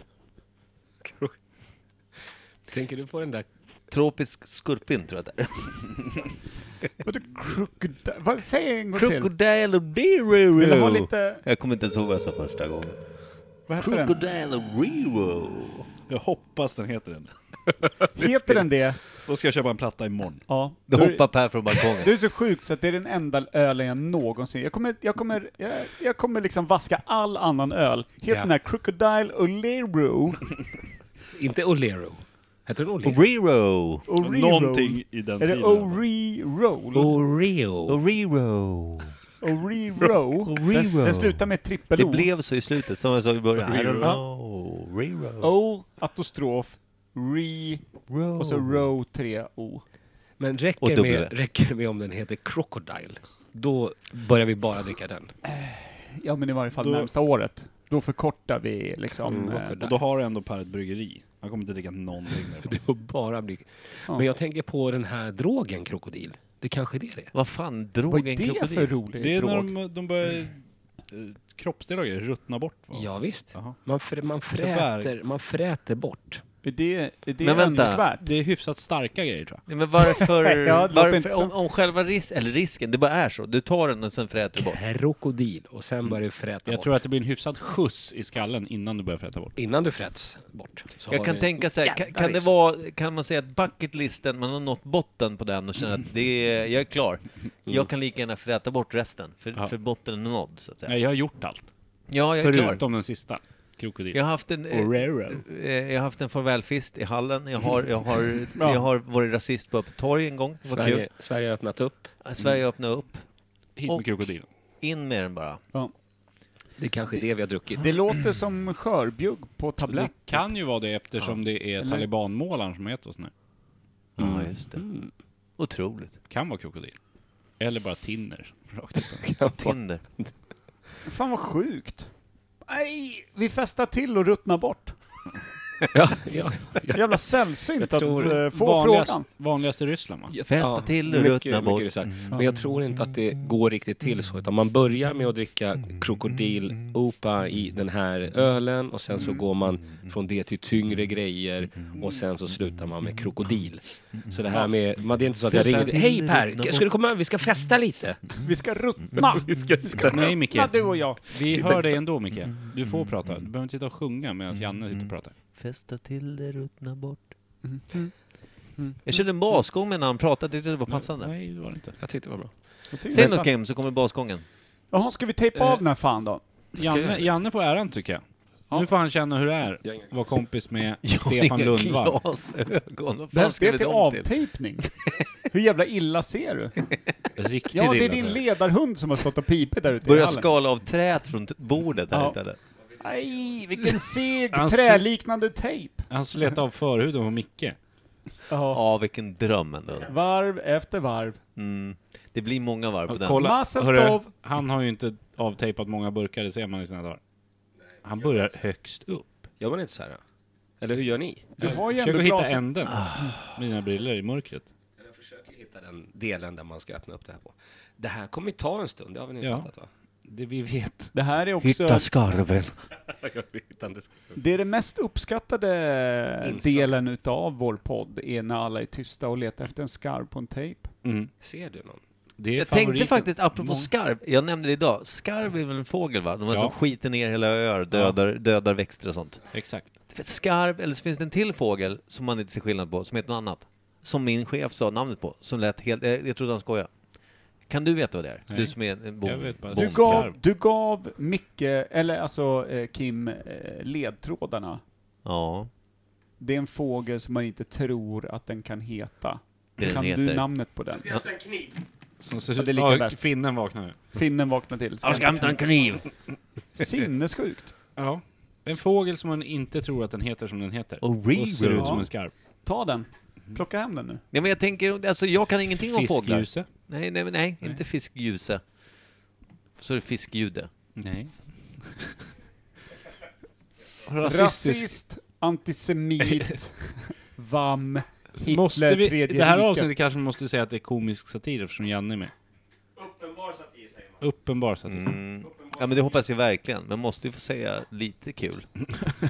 S1: Tänker du på den där?
S2: Tropisk skorpion, tror jag att det är.
S4: Vadå crocodile? Vad, säg en gång till.
S2: Crocodile
S4: Vill du ha
S2: Olero.
S4: lite...
S2: Jag kommer inte ens ihåg vad jag sa första gången.
S4: Vad heter den?
S2: Crocodile Olero.
S3: Jag hoppas den heter den.
S4: Heter den det?
S3: Då ska jag köpa en platta imorgon.
S4: Ja.
S2: Då
S4: Du,
S2: hoppar Per från balkongen.
S4: du är så sjuk så att det är den enda ölen jag någonsin... Jag kommer, jag kommer, jag, jag kommer liksom vaska all annan öl. Heter
S1: Ja.
S4: den här Crocodile Olero?
S1: Inte Olero. Heter den Olero?
S2: Orero.
S4: Orero?
S3: Någonting i den
S4: Är det
S3: stilen.
S4: Ore-roll?
S1: Oreo.
S2: Orero.
S4: Orero? Den,
S2: Orero.
S4: den slutar med trippel
S2: Det
S4: O.
S2: blev så i slutet, som jag sa i början. I don't
S4: Ja.
S2: know. Orero.
S4: O, apostrof, re, och så row, tre O.
S1: Men
S2: Och
S1: räcker
S2: W.
S1: med, räcker med om den heter Crocodile. Då börjar vi bara dricka den.
S4: Ja men i varje fall
S3: Då-
S4: närmsta året. Då förkortar vi
S2: Mm,
S4: liksom... eh,
S3: Och då har du ändå Per ett bryggeri. Han kommer inte dricka någonting
S1: <laughs>
S3: där.
S1: Det får bara bli...
S4: Ja.
S1: Men jag tänker på den här drogen krokodil. Det kanske är det det är.
S2: Vad fan, drog
S4: Vad är
S2: en
S4: det
S2: krokodil?
S4: för rolig
S3: Det är när
S4: drog?
S3: de, de börjar... eh, Kroppsdelar och grejer ruttna bort va?
S1: Ja, visst.
S3: Jaha.
S1: Man, frä, man, fräter, man fräter bort.
S4: Är det, är det
S2: Men vänta.
S4: önskvärt?
S3: Det är hyfsat starka grejer tror jag.
S2: Nej, men varför,
S4: <laughs> Ja, det låter inte
S2: varför
S4: så.
S2: om, om själva ris eller risken, det bara är så. Du tar den och sen fräter du bort.
S1: Krokodil och sen börjar du fräta
S3: Jag
S1: bort.
S3: tror att det blir en hyfsad skjuts i skallen innan du börjar frätta bort.
S1: Innan du fräts bort. så har
S2: Jag kan
S1: du-
S2: tänka så här, kan, kan, det vara, kan man säga att bucketlisten, man har nått botten på den och känner att det
S3: <laughs>
S2: är, jag är klar. Jag kan lika gärna fräta bort resten, för,
S3: Mm. Ja.
S2: för botten är nådd så att säga.
S3: Nej, jag har gjort allt.
S2: Ja, jag är klar.
S3: Förutom den sista. Krokodil.
S2: Jag har haft en... eh,
S3: Orero.
S2: eh, Jag har haft en farvälfest i hallen, jag har, jag
S3: <laughs>
S2: har, jag har varit rasist på öppet torg en gång, det var
S1: Sverige,
S2: kul.
S1: Sverige har öppnat upp.
S2: Sverige
S3: Mm.
S2: öppnade upp,
S3: Hit
S2: och-
S3: med krokodilen.
S2: in med den bara.
S1: Det är kanske är det vi har druckit.
S4: Det låter som skörbjugg på tablett.
S3: Det kan ju vara det eftersom det är
S4: Eller?
S3: talibanmålaren som har gett oss nu.
S2: Ja,
S3: Mm.
S2: just det. Otroligt.
S3: Kan vara krokodil. Eller bara tinner. Rakt upp.
S2: Tinder.
S4: Fan vad sjukt. Nej, vi festar till och
S2: <laughs>
S4: ruttnar bort.
S1: <laughs> Ja, ja.
S4: Jävla sällsynt att
S1: tror
S4: eh, få
S3: Vanligast,
S4: frågan.
S3: vanligast i Ryssland va?
S2: Fästa till och
S1: mycket-
S2: ruttna bort.
S1: mycket ryssar. Men jag tror inte att det går riktigt till så. Utan man börjar med att dricka krokodil opa i den här ölen och sen så går man från det till tyngre grejer och sen så slutar man med krokodil. Så det här med, man- det är inte så att Mm. jag ringer till- Hej Per, ska du komma över? Vi ska festa lite.
S4: Vi ska ruttna. Vi ska,
S3: Nej Micke,
S4: ruttna du och jag.
S3: vi hör dig ändå Micke. Du
S4: Mm.
S3: får prata. Du behöver inte sitta och sjunga medan Janne sitter och pratar.
S2: Fästa till det ruttna bort.
S3: Mm.
S2: Jag körde en basgång med när han pratade, jag tyckte det var passande.
S3: Nej, det var det inte.
S1: Jag tyckte det var bra.
S4: Jag tycker
S2: Säg
S4: det är
S2: något Kim, så kommer basgången.
S4: så- Jaha, ska vi tejpa av den här fan då?
S3: Janne, Janne får äran tycker jag. Nu får han känna hur det är att vara kompis
S4: <laughs>
S3: med Stefan
S2: Inga
S3: Lundvall.
S2: Glasögon. Vad fan
S4: Behövs
S2: ska
S4: det
S2: vi
S4: till
S2: dem till?
S4: avtejpning? Hur jävla illa ser du?
S3: Riktigt
S4: Ja, det är
S3: illa,
S4: din
S3: tror jag.
S4: ledarhund som har stått och pipit där ute i
S2: Börja
S4: hallen.
S2: skala av träet från t- bordet här
S4: Ja.
S2: istället.
S4: Nej, vilken seg
S3: Han ser-
S4: träliknande tejp.
S3: Han slet av förhuden på Micke.
S4: Ja.
S2: Ja, vilken dröm ändå.
S4: Varv efter varv.
S2: Mm. Det blir många varv på den.
S3: Kolla,
S4: Mazel
S3: hörru,
S4: tov.
S3: han har ju inte avtejpat många burkar, det ser man i sina dagar. Han börjar högst upp.
S1: Gör man inte så här? Eller hur gör ni?
S4: Du har ju
S3: Försök
S4: ändå
S3: att hitta
S4: glas... En...
S3: änden med dina briller i mörkret.
S1: Jag försöker hitta den delen där man ska öppna upp det här på. Det här kommer ju ta en stund, det har vi nu
S3: Ja.
S1: fattat va?
S3: Det vi vet.
S4: Det här är
S2: <laughs>
S4: också...
S2: skarven.
S4: Det är den mest uppskattade
S1: Inslag.
S4: delen utav vår podd, är när alla är tysta och letar efter en skarv på en tejp.
S10: Mm.
S1: Ser du någon?
S3: Det är
S2: Jag
S3: favoriten.
S2: tänkte faktiskt, apropå skarv, jag nämnde det idag, skarv är väl en fågel va? De här
S3: Ja.
S2: som skiter ner hela öar, dödar, dödar växter och sånt.
S3: Exakt.
S2: Skarv, eller så finns det en till fågel som man inte ser skillnad på, som heter något annat. Som min chef sa namnet på, som lät helt... eh, Jag trodde han skojade. Kan du veta vad det är?
S3: Nej.
S2: Du som är en
S3: Jag
S2: bom,
S3: vet bara-
S2: bom.
S4: Du gav, du gav Micke, eller alltså eh, Kim, eh, ledtrådarna.
S2: Ja,
S4: Det är en fågel som man inte tror att den kan heta.
S2: det är
S4: kan
S2: den
S4: du
S2: heter.
S4: namnet på den?
S3: Som ser
S4: Ja,
S3: ut,
S4: det är lika
S3: ja,
S4: bäst.
S3: finnen vaknar nu.
S4: Finnen vaknar till.
S2: Jag ska hämta en kniv!
S4: Sinnessjukt.
S3: Ja. En fågel som man inte tror att den heter som den heter.
S2: Och reroll.
S3: och ser ut som
S4: Ja.
S3: en skarv.
S4: Ta den. Plocka hem den nu.
S2: Nej men jag tänker, alltså jag kan ingenting om fåglar.
S3: Fiskljuse.
S2: Nej, nej, men nej, inte fiskljuse. Så är det fiskljud.
S3: Nej.
S4: Rasist,
S3: <laughs>
S4: antisemit, VAM, Hitler,
S3: Måste vi,
S4: tredje
S3: det här
S4: riket.
S3: avsnittet kanske man måste säga att det är komisk satir eftersom Janne är med. Uppenbar satir säger man. Uppenbar satir.
S2: Mm. Ja men det hoppas jag verkligen, men måste ju få säga lite kul.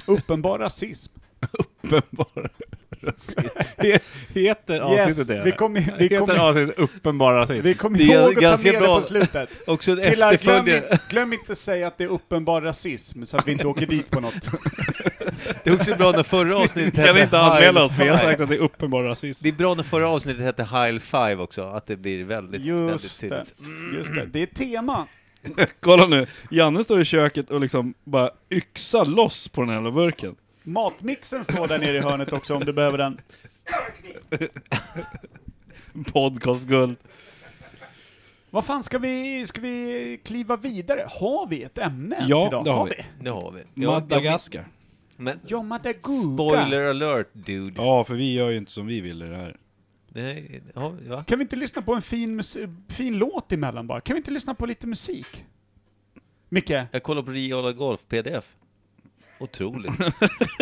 S4: Uppenbar rasism.
S3: Uppenbar <laughs> rasism. He- Heter avsnittet det?
S4: vi kommer vi
S3: Heter
S4: kommer-
S3: avsnittet uppenbar rasism?
S4: vi kommer
S2: Det är
S4: ihåg att ta
S2: ganska
S4: med det
S2: bra.
S4: på slutet.
S2: <laughs> Också
S4: Killar, glöm,
S2: efterföljare.
S4: inte- glöm inte säga att det är uppenbar rasism så att vi inte åker dit
S2: <laughs>
S4: på något.
S2: Det är också bra när förra
S3: <laughs>
S2: avsnittet hette High Five.
S3: att det är uppenbar rasism.
S2: Det är bra när förra avsnittet hette High Five också, att det blir väldigt, väldigt
S4: Just det. Mm.
S2: tydligt.
S4: Just det. Det är tema.
S10: Kolla nu, Janne står i köket och liksom bara yxar loss på den här jävla burken.
S4: Matmixen står där nere i hörnet också om du behöver den.
S10: Podcastguld.
S4: Vad fan, ska vi, ska vi kliva vidare? Har vi ett ämne ens
S3: Ja,
S4: idag?
S3: det har vi.
S2: Det har vi. Ja,
S10: Madagaskar.
S2: men,
S4: Ja, Madagascar.
S2: spoiler alert dude.
S3: Ja, för vi gör ju inte som vi vill i det här.
S2: Nej, ja, va?
S4: Kan vi inte lyssna på en fin, mus- fin låt emellan bara? Kan vi inte lyssna på lite musik? Micke,
S2: Jag kollar på Riola Golf PDF. Otroligt.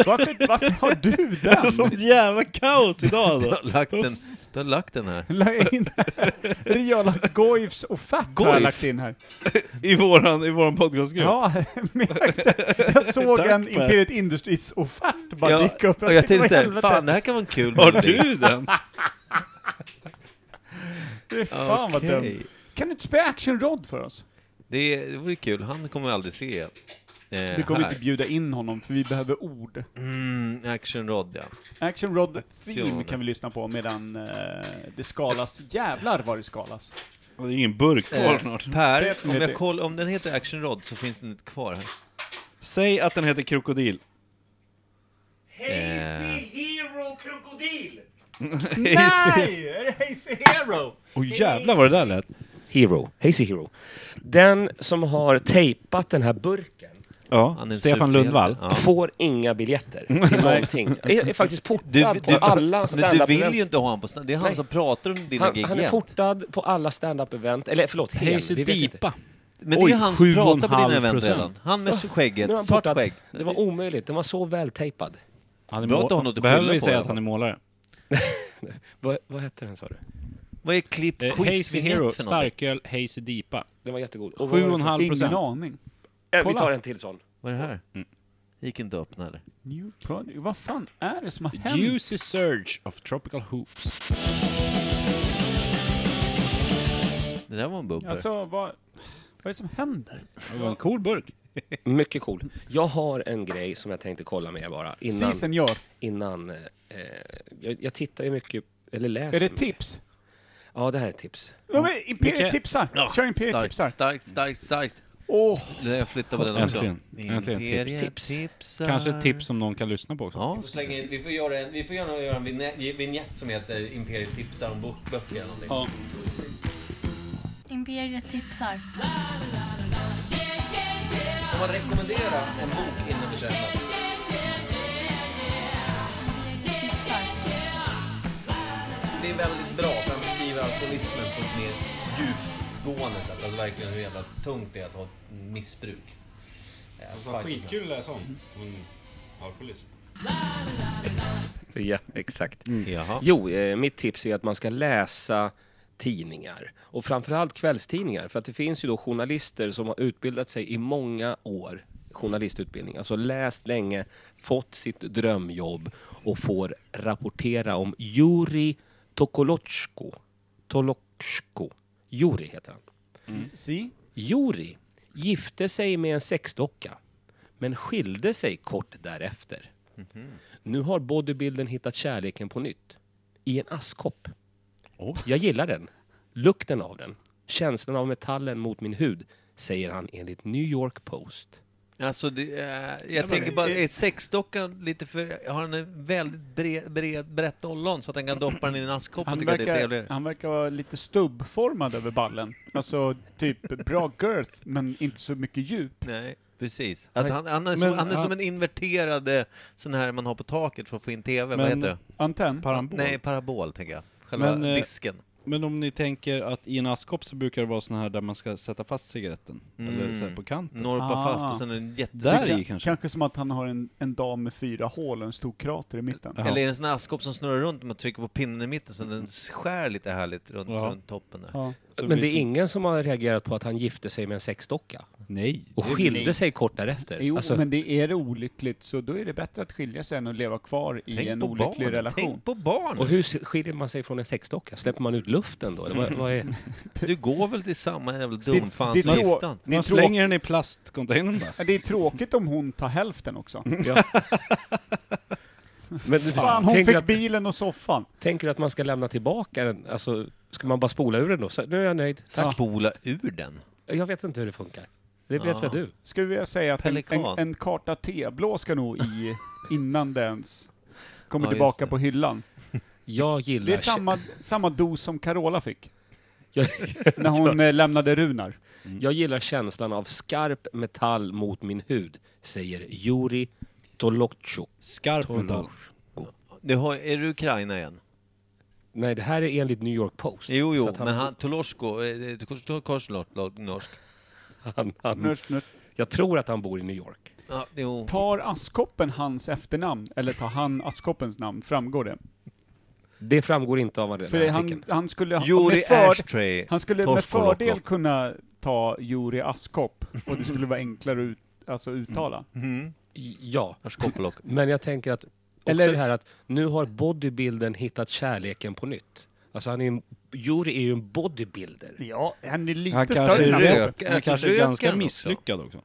S4: varför, varför har du den?
S2: <laughs>
S10: Jävla kaos idag alltså.
S2: Jag har lagt en Du har lagt den här.
S4: La in här. Det är jag lagt Goifs offert har jag
S2: Goif?
S4: lagt in här.
S10: I våran, i våran podcastgrupp.
S4: Ja, <laughs> men jag- jag såg en Imperiet Industries offert bara
S2: Ja,
S4: dyka upp.
S2: och jag tänkte
S4: "Vad i
S2: såhär,
S4: helvete?"
S2: fan det här kan vara en kul
S10: Har
S2: melodi.
S10: du
S3: <laughs>
S10: den?
S4: Fy Fan vad
S2: Okej.
S4: dumt. Kan du inte spela Action Rod för oss?
S2: Det, det vore kul, han kommer vi aldrig se igen. Eh,
S4: Vi kommer
S2: här.
S4: inte bjuda in honom för vi behöver ord.
S2: Mm, action Rod ja.
S4: Action Rod Theme
S2: Action.
S4: kan vi lyssna på medan eh, det skalas. Jävlar vad det skalas.
S10: Det är ingen burk kvar
S2: Eh,
S10: snart.
S2: Per,
S4: Sätt
S2: om,
S4: mig
S2: jag
S4: till-
S2: koll, om den heter Action Rod så finns den inte kvar här.
S10: Säg att den heter Krokodil.
S2: Eh,
S1: <laughs>
S4: Nej! Är det Hazy Hero?
S10: Åh jävlar vad det där lät.
S1: Hero. Hazy Hero. Den som har tejpat den här burken
S10: Ja,
S2: han är en
S10: Stefan
S2: superhjälte.
S10: Lundvall.
S2: Ja.
S1: får
S2: <laughs>
S1: inga biljetter till någonting. Är, är faktiskt portad
S2: Du,
S1: på
S2: du,
S1: alla
S2: men du
S1: standup
S2: vill ju
S1: event.
S2: inte ha honom på stand- Det är han
S1: Nej.
S2: som pratar om dina
S1: Han,
S2: gig
S1: han är
S2: jämt.
S1: portad på alla standup event. Eller förlåt, hen.
S3: Hazy
S1: vi vet inte.
S3: Deepa.
S2: Men det är
S3: Oj,
S2: ju han
S3: sju
S2: som
S3: och en
S2: pratar på
S3: halv
S2: dina event
S3: procent.
S2: redan. Han med
S1: Nu är han
S2: skägget, svart
S1: portad.
S2: skägg.
S1: Det var omöjligt, den var så vältejpad.
S3: Han är
S2: Bra
S3: må-
S2: att du har något att
S3: Behöver
S2: skylla
S3: vi
S2: på i
S3: säga
S2: alla
S3: att han är målare?
S1: Vad, vad hette den sa du?
S2: Vad är klipp
S3: Eh,
S2: quiz
S3: Hazy
S2: vignett för
S3: Hero,
S2: någonting?
S3: starköl, Hazy Deepa.
S1: Den var jättegod. Och vad var det för-
S3: 7,5
S4: Ingen
S3: procent.
S4: aning.
S1: Eh, Vi
S3: kolla.
S1: tar en till sån.
S2: Vad är det här?
S3: Mm.
S2: Gick inte upp eller?
S4: New product. Vad fan är det som har hänt?
S3: Juicy Surge of Tropical Hoops.
S2: Det där var en bumper.
S4: Alltså, vad, vad är det som händer?
S3: Det var en cool burk.
S1: Mycket cool. Jag har en grej som jag tänkte kolla med er bara innan.
S4: Si senor.
S1: innan eh, jag, jag tittar ju mycket, eller läser.
S4: Är det
S1: mycket.
S4: tips?
S1: Ja, det här är tips.
S4: Ja, men Imperiet
S3: Micke.
S4: tipsar! <laughs> Kör Imperiet
S2: starkt,
S4: tipsar!
S2: starkt, starkt, starkt.
S4: Åh,
S2: Jag flyttar på den
S3: Äntligen.
S2: också.
S3: Äntligen tips.
S2: Imperiet
S1: Tips.
S2: tipsar.
S3: Kanske ett tips som någon kan lyssna på också.
S2: Ja, vi får, slänga in, vi får, göra en, vi får gärna göra en vinä- vignett som heter Imperiet tipsar om bok- böcker eller någonting.
S4: Ja.
S6: Imperiet tipsar.
S2: Får man rekommendera en bok innan vi köper den?
S6: tipsar.
S2: Det är väldigt bra för han beskriver alkoholismen på ett mer djupgående sätt. Alltså verkligen hur jävla tungt det är att ha ett missbruk. Alltså,
S3: att läsa om.
S2: Mm.
S3: Alkoholist.
S1: Ja, exakt.
S2: Jaha.
S1: Jo, eh, mitt tips är att man ska läsa tidningar. Och framförallt kvällstidningar. För att det finns ju då journalister som har utbildat sig i många år. Journalistutbildning. Alltså läst länge, fått sitt drömjobb och får rapportera om Juri Tokolotjko. Tolotjko. Juri heter han.
S2: Mm.
S4: si.
S1: Juri gifte sig med en sexdocka, men skilde sig kort därefter. Nu har bodybuilden hittat kärleken på nytt. I en askkopp. Jag gillar den. Lukten av den. Känslan av metallen mot min hud, säger han enligt New York Post.
S2: Alltså, det, eh, jag tänker bara, är sexdockan lite för... Har han en väldigt bred, bred, brett ollon så att han kan doppa den i en askkopp och
S4: Han
S2: tycka att det är
S4: verkar,
S2: trevligare?
S4: han verkar vara lite stubbformad över ballen. Alltså, typ bra girth, men inte så mycket djup.
S2: Nej, precis. Att han, han, är som,
S10: Men
S2: han är
S10: han-
S2: som en inverterad eh, sån här man har på taket för att få in TV. Vad
S10: Men-
S2: heter det?
S4: Antenn?
S10: Parambol.
S2: Nej, parabol tänker jag. Själva
S10: Men, eh,
S2: disken.
S10: Men om ni tänker att i en askkopp så brukar det vara sån här där man ska sätta fast cigaretten. Eller så här på kanten.
S2: Norpa
S4: ah.
S2: fast och sen en
S10: Där
S2: jättestor...
S10: i kanske.
S4: Kanske som att han har en, en dam med fyra hål och en stor krater i mitten.
S10: Ja.
S2: Eller är det en sån här askkopp som snurrar runt och man trycker på pinnen i mitten så den skär lite härligt runt,
S10: Ja.
S2: runt toppen där.
S4: Ja.
S10: Så
S1: Men
S10: blir
S1: det
S10: som-
S1: är ingen som har reagerat på att han gifte sig med en sexdocka
S10: Nej.
S1: och skilde sig kort därefter.
S4: Jo,
S1: Alltså,
S4: men det är det olyckligt, så då är det bättre att skilja sig än att leva kvar i en olycklig
S2: barnen.
S4: relation.
S2: Tänk på barnen!
S1: och hur skiljer man sig från en sexdocka? Släpper man ut luften då? Eller vad, vad är...
S2: Du går väl till samma jävla
S4: ditt
S2: dumfan som
S4: rå-
S2: giftan?
S4: Det är
S10: Man slänger den i plastcontainern bara.
S4: Ja, Det är tråkigt om hon tar hälften
S2: <laughs>
S4: också.
S1: Men du-
S4: Fan, hon
S1: tänker
S4: fick
S1: att-
S4: bilen och soffan.
S1: Tänker du att man ska lämna tillbaka den? Alltså, ska man bara spola ur den då? Så, nu är jag nöjd. Tack.
S2: Spola ur den?
S1: Jag vet inte hur det funkar. Det vet
S2: Ja.
S1: väl du?
S4: Skulle vilja säga att en, en,
S2: Pelikan.
S4: en karta teblå ska
S2: <laughs>
S4: nog i innan det ens kommer
S2: Ja, just
S4: tillbaka
S2: det.
S4: på hyllan.
S1: Jag gillar...
S4: Det
S1: <laughs>
S4: är samma, samma dos som
S2: <laughs>
S4: Carola fick. När hon eh, lämnade Runar.
S1: Jag gillar känslan av skarp metall mot min hud, säger Juri Tolotjko.
S3: Skarp metall.
S2: Du har, är du Ukraina igen?
S1: Nej, det här är enligt New York Post.
S2: Jo,
S1: Så
S2: jo,
S1: att
S2: men han, Tolosko, eh, Tolosko- Korslot, norsk.
S1: han,
S2: Mm.
S1: han,
S4: Nörs, nörs.
S1: jag tror att han bor i New York.
S2: Ja, jo.
S4: Tar askkoppen hans efternamn, eller tar han askkoppens namn? Framgår det?
S1: Det framgår inte av vad den
S4: För
S1: här
S4: han,
S1: artikeln.
S4: han skulle, ha-
S2: Yuri
S4: med för-
S2: Ashtray,
S4: han skulle med
S2: Torsk Koloko.
S4: fördel kunna ta Juri Askop och det skulle vara enklare att ut, alltså uttala.
S2: Mm.
S1: Ja,
S2: Askopolok.
S1: men jag tänker att också
S4: Eller-
S1: det här att nu har bodybuildern hittat kärleken på nytt. Alltså han är en, Juri är ju en
S2: Mm.
S1: bodybuilder.
S4: Ja, han är lite
S10: Han kanske
S4: större
S10: är,
S4: än
S10: rök,
S2: rök. Askop.
S4: Askop.
S10: han
S2: Alltså,
S10: kanske är
S2: röker
S10: ganska
S2: han också?
S10: misslyckad också.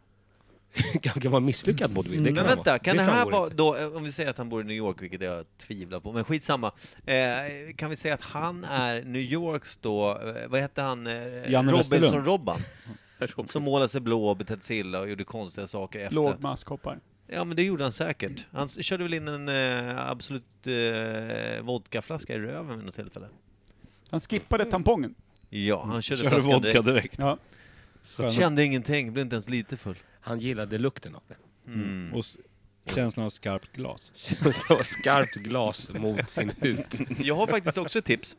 S1: Han <laughs> kan vara en misslyckad bodybuilder.
S2: Mm. Men
S1: han
S2: vänta,
S1: vara.
S2: kan det, här
S1: framgår
S2: vara
S1: inte.
S2: då, eh, om vi säger att han bor i New York, vilket jag tvivlar på, men skitsamma. Eh, kan vi säga att han är New Yorks då, eh, vad hette han, eh,
S10: Janne Westerlund.
S4: <laughs>
S2: Robinson-Robban? Som målade sig blå och betedde sig illa och gjorde konstiga saker efter.
S4: Låg med Askkoppar.
S2: Ja men det gjorde han säkert. Han s- körde väl in en eh, Absolut eh, vodkaflaska i röven vid något tillfälle.
S4: Han skippade tampongen.
S2: Ja, han körde
S10: Kör
S2: flaskan
S10: vodka
S2: direkt.
S10: direkt.
S4: Ja.
S2: Kände ingenting, blev inte ens lite full.
S1: Han gillade lukten av det. <laughs>
S2: Mm.
S10: Och s- känslan av skarpt glas.
S1: Det var skarpt glas mot sin hud.
S2: <laughs> Jag har faktiskt också ett tips.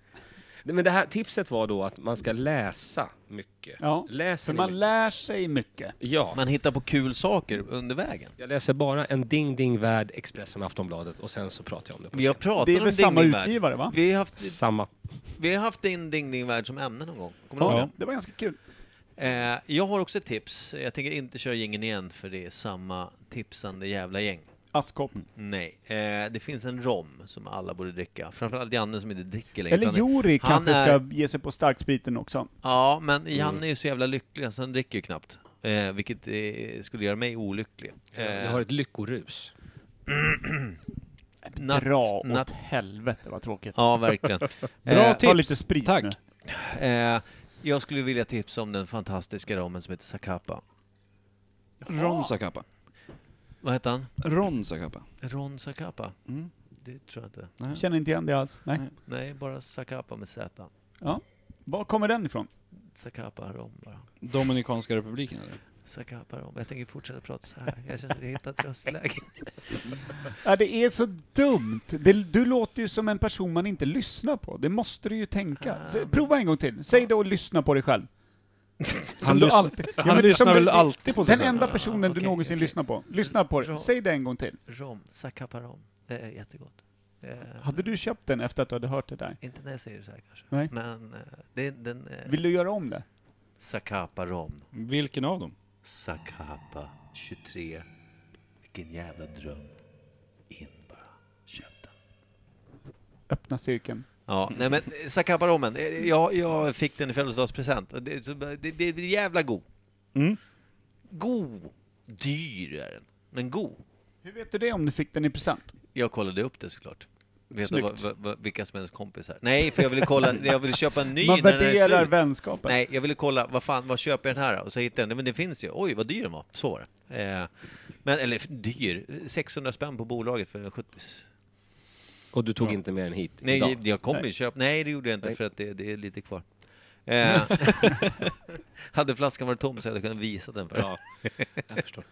S1: Nej, Men det här tipset var då att man ska läsa mycket.
S4: Ja,
S1: Läser
S4: För
S1: ni
S4: man
S1: mycket?
S4: lär sig mycket.
S1: Ja.
S2: Man hittar på kul saker under vägen.
S1: Jag läser bara en Ding Ding Värld, Expressen och Aftonbladet och sen så pratar jag om det på
S2: Vi har
S1: scen.
S2: pratat
S4: Det är
S2: om
S4: väl samma
S2: Ding Ding Värld.
S4: utgivare va?
S2: Vi har haft,
S1: Samma.
S2: vi har haft in Ding Ding Värld som ämne någon gång. Kommer du ihåg
S4: Ja, det var ganska kul.
S2: det? Eh, jag har också ett tips. Jag tänker inte köra gängen igen för det är samma tipsande jävla gäng.
S4: Askop.
S2: Nej, eh, det finns en rom som alla borde dricka. Framförallt Janne som inte dricker längre.
S4: Eller
S2: Han-
S4: Juri
S2: han
S4: kanske
S2: är-
S4: ska ge sig på starkspriten också.
S2: Ja, men
S4: Mm.
S2: Janne är ju så jävla lycklig så han dricker ju knappt. Eh, vilket eh, skulle göra mig olycklig. Eh,
S1: Jag har ett lyckorus.
S2: natt-
S4: Dra åt
S2: natt-
S4: helvete vad tråkigt.
S2: Ja,
S4: <laughs>
S2: verkligen.
S4: Bra
S2: Eh,
S4: tips! Ta lite sprit
S3: Tack.
S4: nu.
S2: Eh, jag skulle vilja tipsa om den fantastiska romen som heter Sakapa.
S10: Ron Zacapa.
S2: Vad heter han?
S10: Ron Zacapa.
S2: Ron Sakapa?
S10: Mm.
S2: Det tror jag inte.
S4: Känner inte igen det alls. Nej.
S10: Nej.
S2: Nej, bara Sakapa med Z.
S4: Var kommer den ifrån?
S2: Sakapa rom bara.
S10: Dominikanska republiken eller?
S2: Sakapa rom. Jag tänker fortsätta prata så här. Jag känner att jag hittat
S4: <laughs>
S2: röstläge.
S4: Ja, det är så dumt. Det, du låter ju som en person man inte lyssnar på. Det måste du ju tänka.
S2: Ah,
S4: Så,
S2: men-
S4: prova en gång till. Säg det och lyssna på dig själv.
S10: Han,
S4: du
S10: lys-
S4: alltid- Ja,
S10: han
S4: men
S10: lyssnar
S4: som-
S10: väl alltid på sig
S4: Den
S10: själv?
S4: enda personen du
S2: okej,
S4: någonsin
S2: okej.
S4: lyssnar på. Lyssna på det.
S2: Bra.
S4: Säg det en gång till.
S2: Rom. Sakapa rom. Det är jättegott. Eh,
S4: Hade du köpt den efter att du hade hört det där?
S2: Inte när jag säger det så här kanske.
S4: Nej.
S2: Men eh, det är den... Eh,
S4: Vill du göra om det?
S2: Sakapa rom.
S10: Vilken av dem?
S2: Sakapa 23. Vilken jävla dröm. In bara. Köp den.
S4: Öppna cirkeln.
S2: Ja, nej men eh, Sakapa rommen. eh, Jag, jag fick den i födelsedagspresent. och Det, så- det, det, det är jävla god.
S10: Mm.
S2: God. Dyr är den. Men god.
S4: Hur vet du det om du fick den i present?
S2: Jag kollade upp det såklart. Veta
S4: Snyggt.
S2: vad, vad, vad, vilka som är ens kompisar. Nej, för jag ville
S4: <laughs>
S2: kolla, jag ville köpa en ny
S4: Man
S2: när den är
S4: värderar
S2: slut.
S4: vänskapen.
S2: Nej, jag ville kolla, vad fan, vad köper jag den här då? Och så hittade jag den, men det finns ju. Oj, vad dyr den var. Så var det. Eh, men, eller dyr, 600 spänn på bolaget för en 70.
S1: Och du tog inte med den hit
S2: Nej,
S1: idag.
S2: jag, jag kommer ju köpa. Nej, det gjorde jag inte
S1: Nej.
S2: för att det, det är lite
S1: <laughs>
S2: kvar. Eh, <laughs> hade flaskan varit tom så hade jag kunnat visa den för ja.
S1: Jag förstår.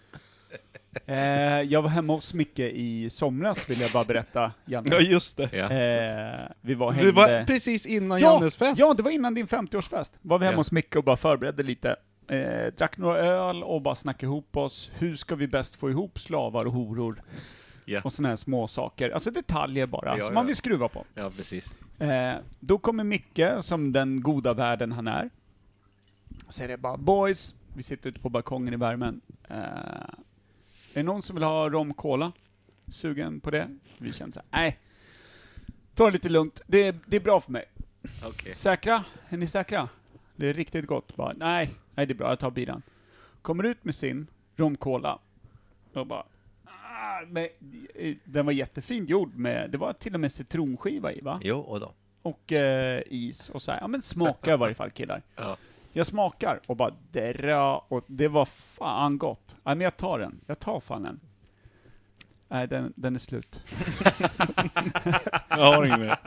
S4: Eh, jag var hemma hos Micke i somras vill jag bara berätta,
S10: Ja,
S4: Janne.
S10: just det.
S1: Ja.
S4: Eh, vi var och hängde...
S10: Det var precis innan
S4: Ja,
S10: Jannes fest.
S4: Ja, det var innan din 50-årsfest. Var vi hemma
S2: Ja.
S4: hos Micke och bara förberedde lite. Eh, drack några öl och bara snackade ihop oss. Hur ska vi bäst få ihop slavar och horor?
S2: Ja.
S4: Och såna här små saker. Alltså detaljer bara,
S2: Ja,
S4: som
S2: ja.
S4: man vill skruva på.
S1: ja, precis.
S4: Eh, då kommer Micke, som den goda värden han är. Och säger det bara, boys, vi sitter ute på balkongen i värmen. Eh, är det någon som vill ha rom cola? Sugen på det? Vi känner såhär, nej. Ta det lite lugnt, det är, det är bra för mig. Säkra? Är ni säkra? Det är riktigt gott. Bara, nej, nej det är bra, jag tar biran. Kommer ut med sin rom cola. Och bara, ah, men, eh, den var jättefint gjord med, det var till och med citronskiva i va?
S2: <laughs> Jo, och
S1: <laughs>
S2: då.
S4: och eh, is och så här, ja men smaka i varje fall killar.
S1: <laughs> Ja.
S4: Jag smakar och bara dra och det var fan gott. Nej men jag tar den, jag tar fan den. Nej den, den är slut.
S10: Jag har ingen mer.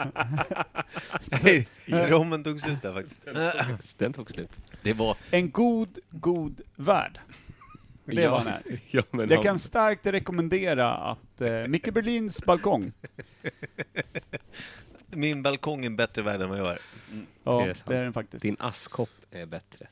S2: Rommen tog slut där
S1: <laughs>
S2: faktiskt.
S1: Den tog slut.
S2: Det var,
S4: En god, god värld. Det
S1: Ja.
S4: var den här.
S1: <laughs> Ja, men
S4: Jag kan starkt rekommendera att eh, Micke Berlins
S1: <laughs>
S4: balkong,
S2: min balkong är en bättre värld än vad jag är.
S4: ja
S1: Det är sant.
S4: det är den faktiskt.
S1: Din askkopp är bättre.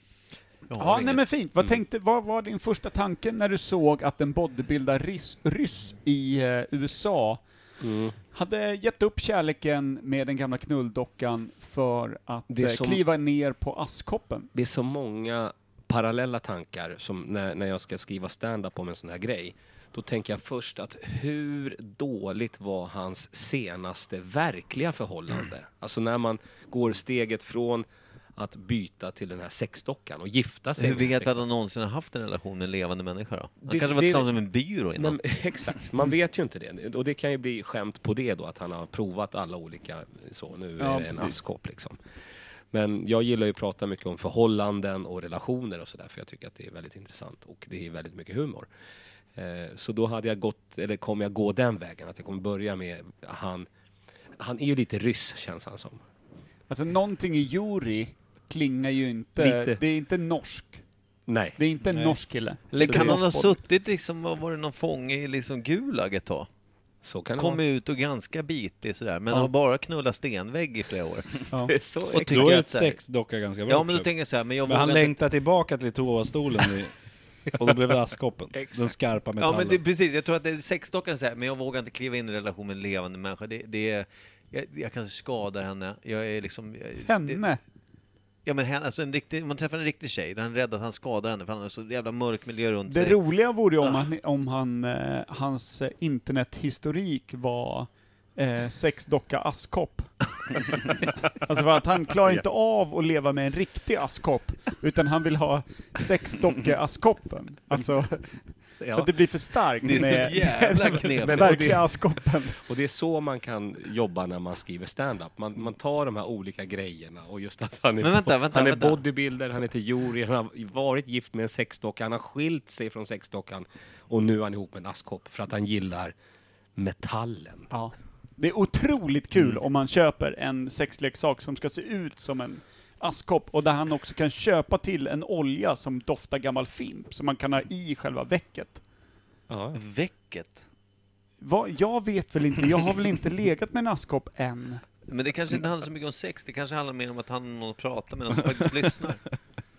S2: Jag har
S4: Ja,
S2: inget.
S4: nej
S2: Mm.
S4: men fint. Vad, tänkte, vad var din första tanke när du såg att en bodybuildad ryss, ryss i eh, USA
S2: Mm.
S4: Hade gett upp kärleken med den gamla knulldockan för att
S1: Det är
S4: eh,
S1: som-
S4: kliva ner på askkoppen.
S1: Det är så många parallella tankar som när, när jag ska skriva stand-up om en sån här grej. Då tänker jag först att hur dåligt var hans senaste verkliga <clears throat> förhållande? Alltså när man går steget från att byta till den här sexdockan och gifta sig.
S2: Hur
S1: med den här
S2: vet att han någonsin har haft en relation med en levande människa då? Han
S1: Det-
S2: kanske var
S1: det-
S2: tillsammans med en byrå
S1: Nej,
S2: innan.
S1: men, <laughs> exakt, man vet ju inte det. Och det kan ju bli skämt på det då, att han har provat alla olika, så nu
S2: Ja,
S1: är det en
S2: precis.
S1: askkopp liksom. Men jag gillar ju att prata mycket om förhållanden och relationer och sådär, för jag tycker att det är väldigt intressant och det är väldigt mycket humor. Eh, så då hade jag gått, eller kommer jag gå den vägen, att jag kommer börja med han, han är ju lite ryss känns han som.
S4: Alltså någonting i Juri klingar ju inte,
S1: Lite.
S4: det är inte norsk.
S1: Nej.
S4: Det är inte en norsk kille.
S2: Eller
S4: Så
S2: kan
S4: det är
S2: han ha
S4: norsk boll.
S2: suttit liksom och varit någon fånge i liksom Gulag ett tag?
S1: Så kan det
S2: Kom
S1: vara.
S2: ut och ganska bitig sådär, men
S1: Ja.
S2: har bara knullat stenvägg i flera år.
S4: Ja.
S1: Det är så
S2: och
S1: exakt.
S2: tycker
S1: Då är
S2: att
S1: ett
S2: så här-
S3: sexdocka ganska bra
S2: Ja, men då
S3: också.
S2: tänker jag så här, men jag
S3: Men han
S2: vågar inte-
S3: längtar tillbaka till toastolen i, <laughs> och då blev det askkoppen. Den skarpa
S2: Ja,
S3: metallen.
S2: men det, precis. Jag tror att det är sexdockan säger, men jag vågar inte kliva in i en relation med en levande människa. Det, det är, jag, jag kanske skadar henne. Jag är liksom... Jag,
S4: Henne?
S2: Ja, men henne, alltså en riktig, om man träffar en riktig tjej, då är han rädd att han skadar henne, för han har så jävla mörk miljö runt
S4: Det
S2: sig.
S4: roliga vore ju om, han, om han, eh, hans eh, internethistorik var eh,
S1: <laughs>
S4: sexdocka askkopp. alltså för att han klarar inte av att leva med en riktig askkopp, utan han vill ha sexdocka askkoppen. Alltså,
S1: Ja.
S4: att det blir för starkt
S1: Det är så
S4: med <laughs>
S1: jävla knepigt.
S4: med verkliga askkoppen.
S1: Och det är så man kan jobba när man skriver stand-up. Man, man tar de här olika grejerna och just att han är,
S2: Men vänta, vänta,
S1: han är
S2: vänta.
S1: bodybuilder, han heter Juri, han har varit gift med en sexdocka, han har skilt sig från sexdockan och nu är han ihop med en askkopp för att han gillar metallen.
S4: Ja. Det är otroligt kul om man köper en sexleksak som ska se ut som en askkopp och där han också kan köpa till en olja som doftar gammal fimp som man kan ha i själva väcket.
S2: Väcket?
S4: Vad, jag vet väl inte, jag har väl inte legat med en askkopp än.
S2: Men det kanske inte handlar så mycket om sex, det kanske handlar mer om att han har någon att prata med, någon som faktiskt lyssnar.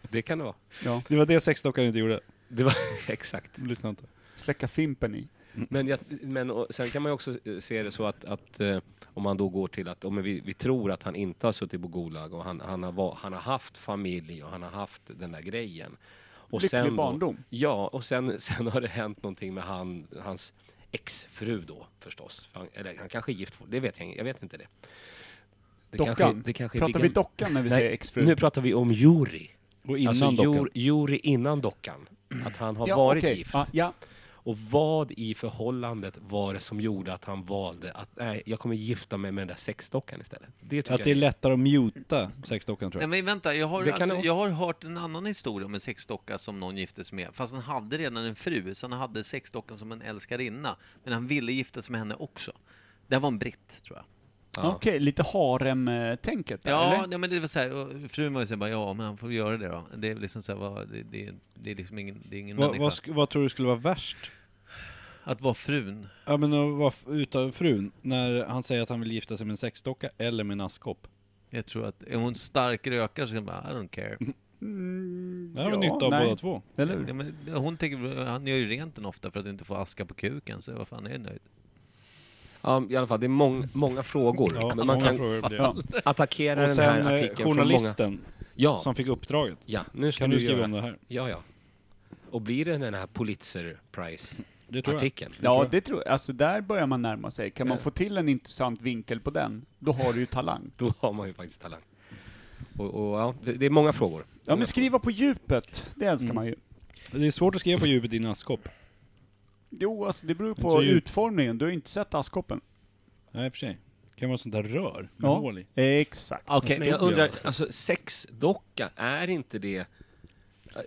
S1: Det kan det vara.
S4: Ja.
S3: Det var det sexdockan inte gjorde.
S1: Det var, <laughs> exakt.
S3: Lyssna inte.
S4: Släcka fimpen i.
S1: Men, jag, men och, sen kan man ju också eh, se det så att, att eh, om man då går till att om vi, vi tror att han inte har suttit på Gulag och han, han, har, va- han har haft familj och han har haft den där grejen. Och
S4: Lycklig
S1: sen då-
S4: barndom.
S1: Ja, och sen, <laughs> sen har det hänt någonting med han, hans exfru då förstås. För han, eller han kanske är gift, det vet jag, inte- jag vet inte det. det
S4: Dockan?
S1: är
S4: Pratar vi
S1: vilken-
S4: dockan när vi
S1: Nej,
S4: säger exfru?
S1: Nu pratar vi om Juri.
S3: Och innan
S1: alltså,
S3: dockan.
S1: Jur, Juri innan dockan. Att han har
S4: Ja,
S1: varit
S4: okej.
S1: gift.
S4: Ja, ja.
S1: Och vad i förhållandet var det som gjorde att han valde att nej, jag kommer gifta mig med den där sexdockan istället? Det tycker
S3: Att det är
S1: jag
S3: lättare att muta sexdockan tror
S2: Nej men
S3: jag.
S2: vänta, jag har,
S1: Det kan det
S2: alltså,
S1: vara.
S2: jag har hört en annan historia om en sexdocka som någon gifte sig med. Fast han hade redan en fru, så han hade sexdockan som en älskarinna. Men han ville gifta sig med henne också. Det här var en britt, tror jag.
S1: Ja.
S4: Okej, lite harem-tänket där,
S2: Ja,
S4: eller?
S2: nej, men det var så här, och frun var ju såhär, bara, ja men han får göra det då. Det är liksom så här, vad- det, det, det är liksom ingen, det är ingen
S3: Vad,
S2: människa.
S3: vad, sk- vad tror du skulle vara värst?
S2: Att vara frun.
S3: Ja men att vara f- utan frun, när han säger att han vill gifta sig med en sexdocka eller med en askkopp.
S2: Jag tror att, är hon stark rökare så kan man bara, I don't care.
S4: Mm,
S3: Det har vi nytta av båda två.
S4: Eller hur?
S2: Ja, men, hon tänker, han gör ju rent den ofta för att inte få aska på kuken, så vad fan är jag nöjd?
S1: Ja, I alla fall, det är mång, många frågor.
S3: Ja,
S1: men man
S3: många
S1: kan
S3: frågor <laughs> blir det.
S4: Ja.
S1: attackera
S3: Och
S1: den
S3: sen
S1: här
S3: eh,
S1: artikeln från många...
S3: journalisten
S1: Ja,
S3: som fick uppdraget.
S1: ja, nu ska
S3: Kan du skriva
S1: göra-
S3: om det här?
S1: Ja, ja. Och blir det den här Pulitzer Prize-artikeln?
S3: Det tror jag.
S4: Ja, det tror jag. Alltså där börjar man närma sig. Kan man få till en intressant vinkel på den, då har du ju talang.
S1: Då har man ju faktiskt talang. Och, och ja, det, det är många frågor.
S4: Ja men skriva på djupet, det
S2: Mm.
S4: älskar man ju.
S3: Det är svårt att skriva på djupet i en askkopp.
S4: Jo, alltså det beror
S3: Inte
S4: på
S3: så djup.
S4: utformningen. Du har ju inte sett askkoppen.
S3: Nej i och för sig. Det kan vara ett sånt där rör med
S4: Ja.
S3: hål i.
S4: Exakt.
S1: Okej, men jag
S3: stor
S1: undrar,
S3: grej.
S1: alltså sexdocka, är inte det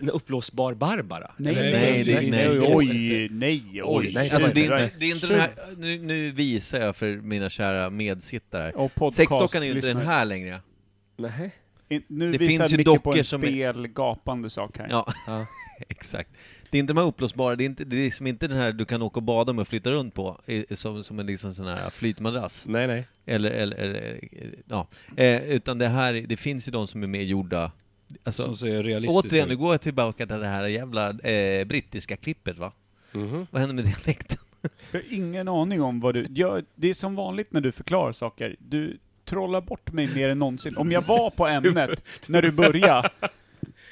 S1: en uppblåsbar Barbara?
S4: Nej,
S1: Eller-
S2: nej, nej, nej.
S4: Oj, nej, oj.
S1: nej,
S2: Alltså,
S1: Oj,
S2: det, är inte, det är inte den här, nu, nu visar jag för mina kära medsittare. här.
S4: Och podcast-
S2: Sexdockan är ju inte den
S4: lyssnare.
S2: här längre.
S1: Nej.
S4: In- Nu
S2: Det
S4: visar
S2: finns ju
S4: Micke på
S2: dockor
S4: en
S2: som är-
S4: spel gapande sak här.
S2: Ja, <laughs>
S1: Ja.
S2: exakt. Det är inte de här uppblåsbara, det är, inte, det är liksom inte den här du kan åka och bada med och flytta runt på, eh, som, som en liksom sån här flytmadrass.
S1: Nej, nej.
S2: Eller, eller, eller eh, ja. Eh, utan det här, det finns ju de som är mer gjorda, alltså,
S3: Som ser realistiska
S2: återigen, nu
S3: ut.
S2: går jag tillbaka till det här jävla eh, brittiska klippet va?
S1: Mhm.
S2: Vad händer med dialekten?
S4: Jag har ingen aning om vad du... Jag, det är som vanligt när du förklarar saker. Du trollar bort mig mer än någonsin. Om jag var på ämnet när du började,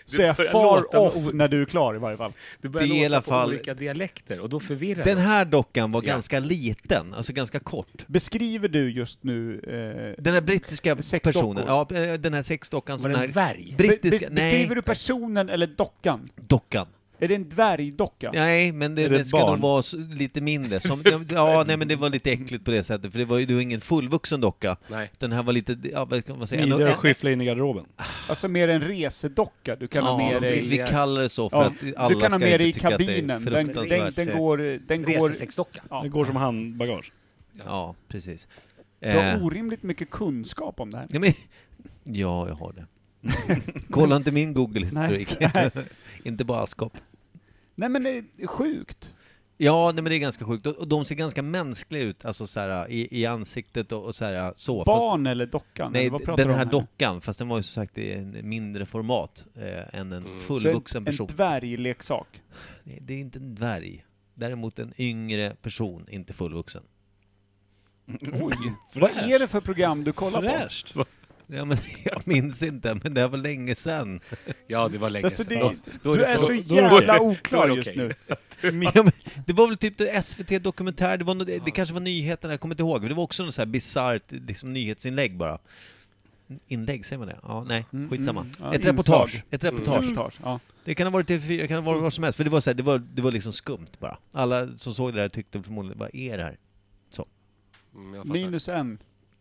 S4: så är jag
S1: börjar
S4: far
S1: låta
S4: off när du är klar i varje fall.
S1: Du
S2: Det är i alla fall-
S1: olika dialekter och då förvirrar
S2: Den
S1: det.
S2: här dockan var
S1: Ja.
S2: ganska liten, alltså ganska kort.
S4: Beskriver du just nu... Eh,
S2: Den här brittiska
S4: Sexdockor.
S2: personen, ja, eh, den här sexdockan
S1: Var
S2: som
S1: det
S2: den
S1: en
S2: här
S1: dvärg?
S2: brittiska,
S4: bes-
S2: nej,
S4: beskriver du personen eller dockan?
S2: dockan.
S4: Är det en dvärgdocka?
S2: Nej, men det,
S10: Är det
S2: det
S10: ett
S2: ska nog
S10: barn?
S2: vara så- lite mindre. Som, ja, nej men det var lite äckligt på det sättet, för det var ju det var ingen fullvuxen docka.
S1: Nej.
S2: Den här var lite, ja vad kan man säga? en-
S10: Midja
S2: en-
S10: och skyffla in i garderoben.
S4: Alltså mer en resedocka du kan ha
S2: ja,
S4: med dig?
S2: vi, vi kallar det så för
S4: Ja,
S2: att alla
S4: du kan ha
S2: ska
S4: med dig i
S2: inte tycka att det är
S4: kabinen. Den, den, den,
S2: fruktansvärt.
S4: går... Den går
S1: Resesexdocka.
S4: Ja.
S10: Det går som handbagage.
S2: Ja, precis.
S4: du har
S2: Eh,
S4: orimligt mycket kunskap om det här.
S2: ja, men, ja, jag har det. <laughs> Kolla inte min Google-historik. <laughs> inte bara askkopp.
S4: Nej men det är sjukt.
S2: Ja, nej, men det är ganska sjukt. Och- Och de ser ganska mänskliga ut, alltså så här, i, i ansiktet och, och så här, så. Fast-
S4: Barn eller dockan?
S2: Nej,
S4: eller vad
S2: d-
S4: pratar
S2: den
S4: du
S2: här,
S4: om
S2: dockan, fast den var ju som sagt i en mindre format eh, än en
S4: Så
S2: fullvuxen
S4: en,
S2: person.
S4: En dvärgleksak.
S2: Nej, det är inte en dvärg. Däremot en yngre person, inte fullvuxen.
S4: Oj. vad är det för program du kollar på?
S10: Fräscht!
S2: Ja, men, <laughs> jag minns inte, men det här var länge sedan.
S1: Ja, det var länge
S4: Alltså,
S1: sedan.
S4: det,
S1: Då- då
S4: du
S1: det
S4: är
S1: för-
S4: så
S1: då-
S4: jävla oklar
S1: då är det
S4: just
S1: okej.
S4: nu.
S2: Ja, men, det var väl typ det SVT Dokumentär, det, var något, det kanske var nyheterna, jag kommer inte ihåg. Men det var också något så här bisarrt liksom, nyhetsinlägg bara. Inlägg, säger man det? Ja, nej,
S4: Mm,
S2: skitsamma.
S4: mm,
S2: ett,
S4: ja, inslag. Mm.
S2: reportage, ett reportage.
S4: Reportage, ja.
S2: Det kan ha varit TV4, det kan ha varit vad som helst. För det var, så här, det var, det var liksom skumt bara. Alla som såg det där tyckte förmodligen, vad är det här?
S1: Mm, jag fattar.
S4: Minus en,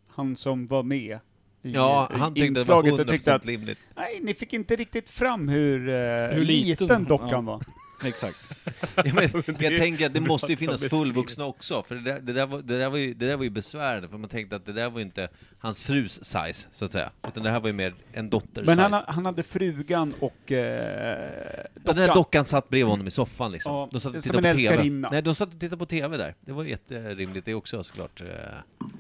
S4: han som var med i,
S2: Ja,
S4: i
S2: han tyckte det var
S4: inslaget och tyckte
S2: 100%
S4: att
S2: rimligt.
S4: nej, ni fick inte riktigt fram hur, eh,
S10: Hur
S4: liten,
S10: liten-
S4: dockan
S10: ja.
S4: var.
S10: Exakt.
S4: <laughs>
S2: Ja, men, jag tänker att det måste ju finnas fullvuxna också, för det där, det, där var, det, där var ju, det där var ju besvärande, för man tänkte att det där var ju inte hans frus size, så att säga. Utan det här var ju mer en dotters
S4: Men
S2: size.
S4: han, ha- han hade frugan och eh,
S2: Ja,
S4: dockan.
S2: Den där dockan satt bredvid honom i soffan liksom.
S4: Ja,
S2: de satt och
S4: som
S2: tittade
S4: en
S2: på TV.
S4: älskarinna.
S2: Nej, de satt och tittade på TV där. Det var jätterimligt det också såklart. Eh,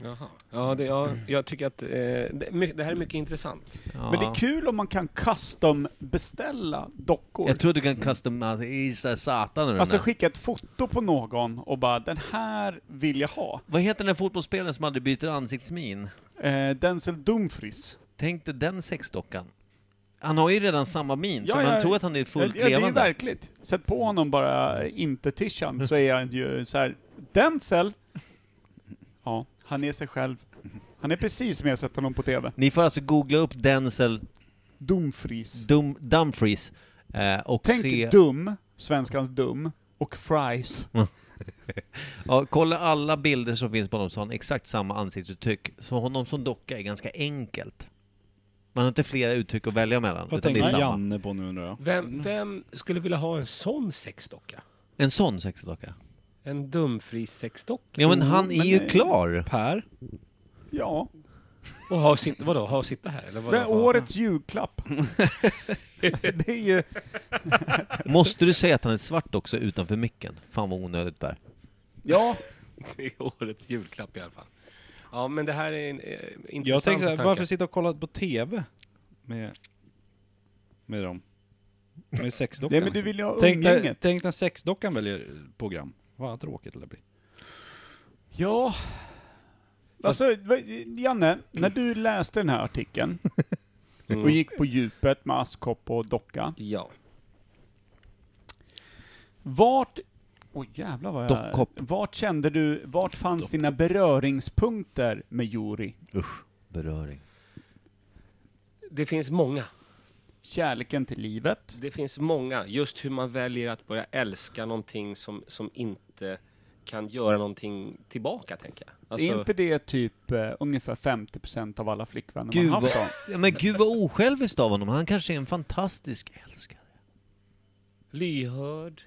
S1: Jaha. Ja, det, ja, jag tycker att eh, det, my- det här är mycket intressant.
S2: Ja.
S4: Men det är kul om man kan custom beställa dockor.
S2: Jag tror du kan customisa satan ur
S4: Alltså
S2: den här.
S4: skicka ett foto på någon och bara den här vill jag ha.
S2: Vad heter den där fotbollsspelaren som aldrig byter ansiktsmin?
S4: Eh, Denzel Dumfries.
S2: Tänk dig den sexdockan. Han har ju redan samma min, så
S4: Ja,
S2: man
S4: ja,
S2: tror att han är
S4: Ja,
S2: fullt
S4: det är ju
S2: levande.
S4: verkligt. Sätt på honom bara inte tishan så är han ju så här. Denzel! Ja, han är sig själv. Han är precis som jag sett honom på TV.
S2: Ni får alltså googla upp Denzel
S4: Dumfries.
S2: Dum Dumfries eh, och se...
S4: Tänk dum, svenskans dum, och fries.
S2: Ja, kolla alla bilder som finns på honom så har han exakt samma ansiktsuttryck. Så honom som docka är ganska enkelt. Man har inte flera uttryck att välja mellan.
S10: Vad
S2: utan det är
S10: tänkte
S2: samma.
S10: Janne på nu undrar jag?
S1: Vem, vem skulle vilja ha en sån sexdocka?
S2: En sån sexdocka.
S1: En dumfri sexdocka?
S2: Ja men han är
S4: men
S2: ju
S4: nej.
S2: klar.
S10: Per?
S4: Ja,
S1: Och ha och sitta, vadå, ha och sitta här? Eller vadå,
S4: det är årets julklapp. det är ju...
S2: Måste du säga att han är svart också utanför micken? Fan vad onödigt Per.
S4: Ja,
S1: Det är <laughs> årets julklapp i alla fall. Ja, men det här är en eh, intressant
S10: Jag tänker såhär,
S1: tanke.
S10: varför sitta och kolla på TV? Med, med dem? Med sexdockan? liksom.
S4: nej, men du vill ju ha
S10: tänk, när,
S4: umgänget.
S10: tänk när sexdockan väljer program. Vad tråkigt det blir.
S4: Ja. Alltså, va- Janne, när du läste den här artikeln och gick på djupet med askkopp och docka,
S1: Ja.
S4: vart... Oj jävlar vad jag...
S2: Dockkopp.
S4: Vart kände du, vart fanns dina beröringspunkter med Juri?
S2: Usch, beröring.
S1: Det finns många.
S4: Kärleken till livet?
S1: Det finns många. Just hur man väljer att börja älska någonting som, som inte kan göra någonting tillbaka, tänker jag. Alltså,
S4: är inte det typ eh, ungefär 50% av alla flickvänner
S2: Gud
S4: man
S2: vad,
S4: haft då?
S2: ja, men gud vad osjälviskt av honom. Han kanske är en fantastisk älskare.
S1: Lyhörd.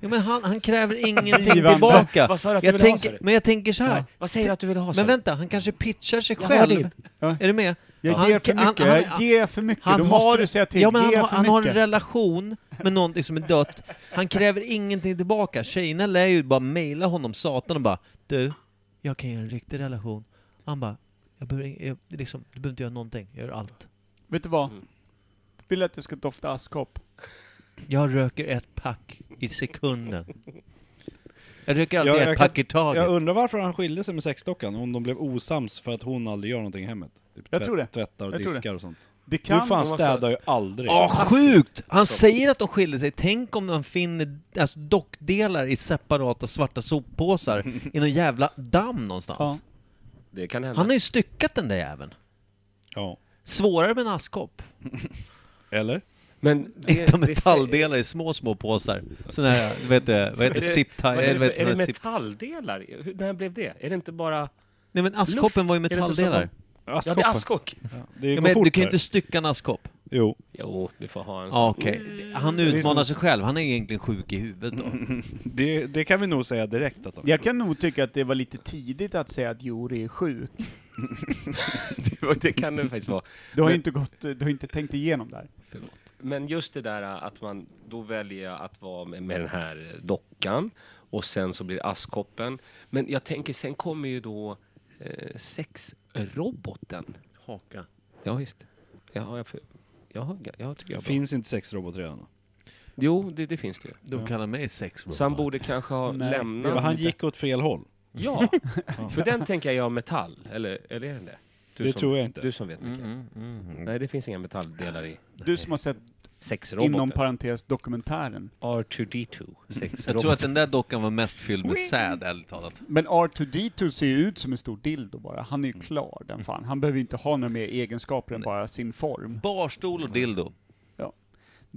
S2: Ja, men han, han kräver
S4: <laughs>
S2: ingenting
S4: Givande.
S2: tillbaka.
S1: Vad sa du att du
S2: jag
S1: ville ha,
S2: tänker,
S1: sa du?
S2: Men jag tänker så här.
S1: Vad säger du att du vill ha? sa
S2: Men
S1: du?
S2: vänta, han kanske pitchar sig
S1: Jag hörde
S2: själv.
S1: inte.
S4: Ja.
S2: Är du med?
S4: Jag
S2: Han-
S4: ger för
S2: han-
S4: mycket,
S2: han-
S4: jag ger för mycket,
S2: Han
S4: då måste du
S2: har,
S4: säga till.
S2: ja, men han,
S4: ge
S2: har,
S4: för
S2: han har en
S4: mycket.
S2: relation med någonting som är dött. Han kräver ingenting tillbaka. Tjejerna lär ju bara mejla honom, satan, och bara Du, jag kan ge en riktig relation. Han bara, jag behöver, ing- jag, liksom, du behöver inte göra någonting, jag gör allt.
S4: Vet du vad? Vill att du ska dofta askkopp?
S2: Jag röker ett pack i sekunden. Jag röker alltid ett pack i taget.
S10: Jag undrar varför han skilde sig med sexdockan, om de blev osams för att hon aldrig gör någonting i hemmet. Typ
S4: Jag tror det.
S10: Tvättar och
S4: Jag tror det.
S10: diskar och sånt.
S4: Det kan
S10: du fan
S4: vara så-
S10: städar ju aldrig.
S2: Ja,
S1: alltså,
S2: sjukt! Han säger att de skiljer sig. Tänk om de finner alltså, dockdelar i separata svarta soppåsar
S1: <laughs>
S2: i någon jävla damm någonstans.
S4: Ja.
S1: Det kan hända.
S2: Han har ju styckat den där jäveln.
S10: Ja.
S2: Svårare med en askkopp.
S10: Eller?
S1: Men
S2: <laughs> Hitta
S1: säger-
S2: metalldelar i små, små påsar. Såna här, vad heter det? Vad heter
S1: Är det-
S2: zip tie?
S1: vad är det,
S2: eller vad heter
S1: för- är det
S2: såna zip-
S1: metalldelar? Hur, när blev det? Är det inte bara...
S2: Nej men askkoppen var ju
S1: Luft, är det inte så
S2: metalldelar.
S1: Ja, det är askkock.
S10: Det
S2: Ja,
S10: går
S2: men
S10: fort
S2: du kan ju
S10: där.
S2: inte stycka en askkopp.
S10: Jo.
S1: Jo, du får ha en sån.
S2: Ja, okej. Han utmanar sig själv. Han är egentligen sjuk i
S1: <laughs>
S2: huvudet då.
S10: Det, det kan vi nog säga direkt att de...
S4: Jag kan nog tycka att det var lite tidigt att säga att Jori är sjuk.
S1: <laughs> Det kan det faktiskt vara.
S4: Du har
S1: Men-
S4: ju inte, gått, du har inte tänkt igenom det här.
S1: Men just det där eh, att man då väljer att vara med, med den här eh, dockan och sen så blir det askkoppen. Men jag tänker sen kommer ju då eh, sexroboten.
S2: Haka.
S1: Ja visst. Jag har, jag, för- jag har, jag tycker jag har bra.
S10: Finns inte sexrobot redan?
S1: Jo, det, det finns det ju.
S2: De kallar mig sexrobot.
S1: Så han borde kanske ha
S4: Nej.
S1: lämnat.
S10: Men han gick åt fel håll. <laughs>
S1: Ja, för den tänker jag är av metall. Eller, eller är den det? Du
S10: det
S1: som,
S10: tror jag inte.
S1: Du som vet mycket.
S2: Mm, mm, mm.
S1: Nej, det finns inga metalldelar i
S4: Du som har sett, inom
S1: sexroboten.
S4: parentes, dokumentären.
S1: R2D2.
S2: Jag tror att
S1: Sexroboten.
S2: den där dockan var mest fylld med säd, ärligt talat.
S4: Men R2D2 ser ju ut som en stor dildo bara. Han är ju
S2: Mm.
S4: klar, den fan. Han behöver ju inte ha några mer egenskaper än bara sin form.
S2: Barstol och dildo.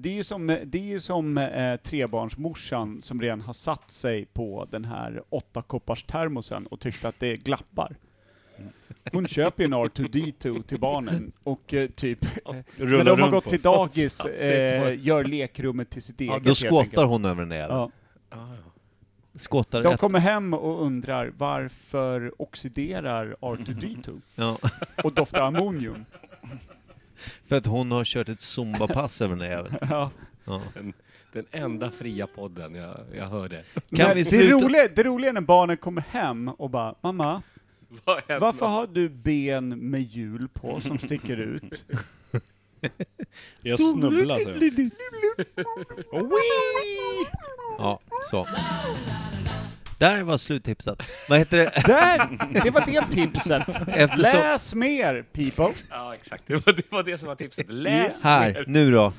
S4: Det är ju som, det är ju som eh, trebarnsmorsan som redan har satt sig på den här åtta koppars termosen och tyckte att det glappar. Hon köper ju en R2D2 till barnen och eh, typ, när
S10: Rullar
S4: de har
S10: runt
S4: gått
S10: på.
S4: till dagis,
S2: Satt sig på
S4: eh, gör lekrummet till sitt eget.
S2: Ja, då
S4: helt
S2: skottar
S4: enkelt.
S2: hon över den där jäveln.
S4: Ja.
S2: Skottar
S4: De
S2: ett-
S4: kommer hem och undrar varför oxiderar R2D2
S2: ja. <laughs>
S4: och doftar ammonium?
S2: För att hon har kört ett zumbapass över den där
S4: <laughs>
S2: jäveln.
S4: Ja.
S2: Ja.
S1: Den enda fria podden jag, jag hörde.
S2: Kan
S4: Men
S2: vi
S4: det,
S2: sluta-
S4: roliga, det roliga är när barnen kommer hem och bara ”Mamma,
S1: Vad hände?
S4: varför har du ben med hjul på som sticker ut?”
S10: Jag snubblar så. jag.
S2: ja, så. Där var sluttipset. Vad heter
S4: <laughs>
S2: det?
S4: Där! Det var det tipset.
S2: Eftersom...
S4: Läs mer, people!
S1: Ja, exakt. Det var, det var det som var tipset. Läs!
S2: Här, nu då.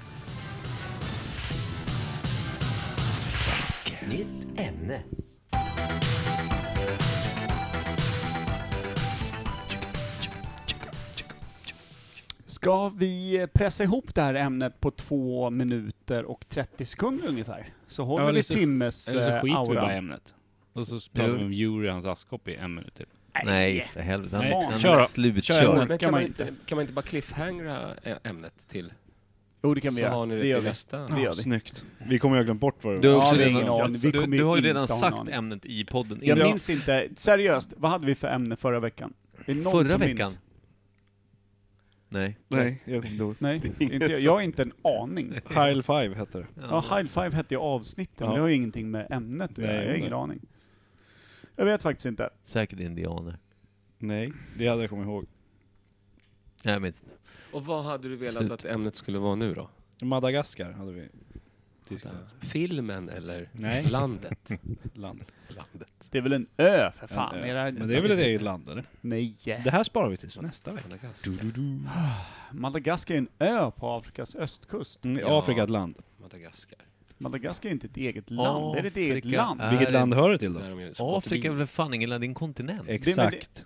S4: Ska vi pressa ihop det här ämnet på två minuter och 30 sekunder ungefär? Så håller
S3: Ja,
S4: vi
S3: eller så-
S4: timmes
S3: Eller så
S4: eh,
S3: skiter vi
S4: aura.
S3: bara i ämnet. Och så pratar vi om Juri och hans askkopp i en minut till.
S2: Nej, för helvete.
S4: Nej,
S2: Han,
S3: kör
S2: han
S3: då. Kör
S2: slutkör.
S1: Men
S3: ämnet.
S4: kan
S1: kan
S4: man
S1: man, inte, kan man inte bara cliffhangra ä- ämnet till?
S4: Jo, det kan vi
S1: Så har
S4: göra.
S1: ni
S4: Det
S1: det
S4: gör
S1: till
S4: vi.
S1: nästa.
S4: Det gör vi.
S10: Snyggt. Vi kommer ju ha glömt bort vad det
S2: Du
S10: var.
S2: har,
S4: Ja,
S2: också
S4: vi har
S2: redan,
S4: ingen aning. Vi
S2: du,
S4: kommer
S2: du har ju
S4: inte
S2: redan
S4: ha någon
S2: sagt
S4: aning.
S2: ämnet i podden.
S4: Jag
S2: innan.
S4: minns inte. Seriöst, vad hade vi för ämne förra veckan? Är det någon
S2: Förra
S4: som
S2: veckan?
S4: Minns?
S2: Nej.
S10: Nej, jag kommer inte ihåg.
S4: Nej, inte jag. jag har inte en aning.
S10: Heil Five hette det.
S4: Ja, High Five hette ju avsnittet, men
S10: Ja.
S4: det har ju ingenting med ämnet att
S10: Nej,
S4: göra. Jag har
S10: nej.
S4: ingen aning. Jag vet faktiskt inte.
S2: Säkert indianer.
S10: Nej, det hade jag kommit ihåg.
S2: Nej, jag minns inte.
S1: Och vad hade du velat
S2: Slut.
S1: att ämnet skulle vara nu då?
S10: Madagaskar hade vi diskuterat.
S1: Filmen eller
S10: Nej.
S1: landet?
S10: Land.
S4: Det är väl en ö för fan?
S10: En ö.
S4: Era-
S10: Men det är väl ett eget land eller?
S4: Nej.
S10: Det här sparar vi tills nästa vecka.
S1: Madagaskar.
S4: Madagaskar är en ö på Afrikas östkust.
S10: Mm,
S1: Ja.
S10: Afrika är ett land.
S1: Madagaskar.
S4: Madagaskar är inte ett eget land, det är ett eget
S2: Afrika
S4: land.
S2: är-
S10: Vilket land hör det till då?
S1: Där de ju
S2: Afrika är väl fan ingen land, det är en kontinent.
S10: Exakt.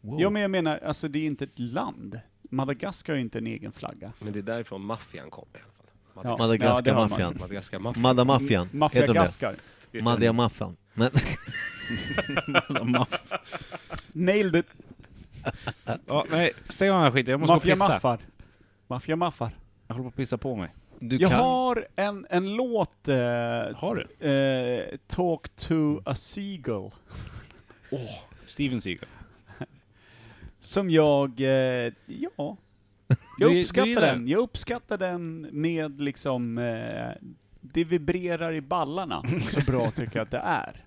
S2: Wow.
S4: Ja, men jag menar, alltså det är inte ett land. Madagaskar har ju inte en egen flagga.
S1: Men det är därifrån maffian kom i alla fall.
S4: Ja. det har man.
S2: Madagaskar-maffian.
S1: Madagaskar-maffian.
S2: Madamaffian. Heter de
S4: Maffiagaskar.
S2: det? Madiamaffan. Men
S10: <laughs>
S4: Nailed it.
S3: Ja, nej, stäng av den här skiten. Jag måste gå och
S4: Maffia
S3: pissa.
S4: maffar. Maffia maffar.
S3: Jag håller på att pissa på mig.
S2: du
S4: Jag
S2: kan...
S4: har en, en låt, eh,
S3: Har du?
S4: eh, Talk to a Seagull,
S3: Steven Seagal.
S4: som jag, eh,
S3: <laughs> Du-
S4: ja, jag
S3: du
S4: uppskattar
S3: gillar
S4: den.
S3: den?
S4: Jag uppskattar den med liksom, eh, det vibrerar i ballarna, så
S3: <laughs>
S4: bra tycker jag att det är.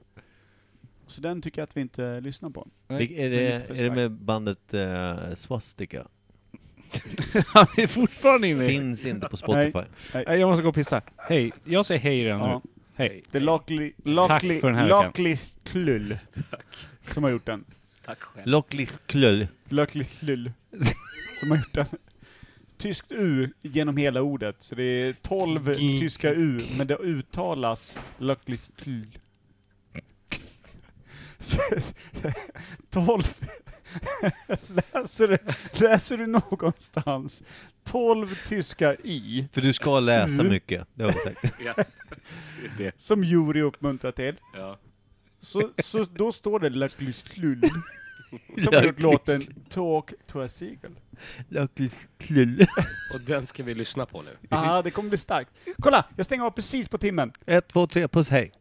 S4: Så den tycker jag att vi inte lyssnar på.
S2: Det- Är
S4: det är
S2: det,
S4: lite för
S2: är det med bandet eh, Swastika?
S10: Han är fortfarande inne i...
S2: Finns inte på Spotify.
S10: Nej, Jag måste gå och pissa. Hej. Jag säger hej redan
S4: Ja.
S10: nu.
S3: Hej.
S4: Det är
S3: Tack för den här veckan.
S4: Lakli
S3: <laughs>
S4: Klull som har gjort den.
S1: Tack själv.
S2: Locklig klull.
S4: Lökli Klull som har gjort den. Tyskt U genom hela ordet, så det är 12 tyska U, men det uttalas Lökli Klull. Så- 12 läser, du- läser du någonstans 12 tyska i
S2: För du ska läsa
S4: Mm.
S2: mycket, det har vi sagt.
S4: som jury uppmuntrar till.
S1: Ja.
S4: Så, så då står det Löklis Klull. Som har gjort låten Talk to a Seagull.
S2: Locklig klull.
S1: Och den ska vi lyssna på nu.
S4: Ah, det kommer bli starkt. Kolla, jag stänger av precis på timmen.
S2: Ett, två, tre, puss, hej.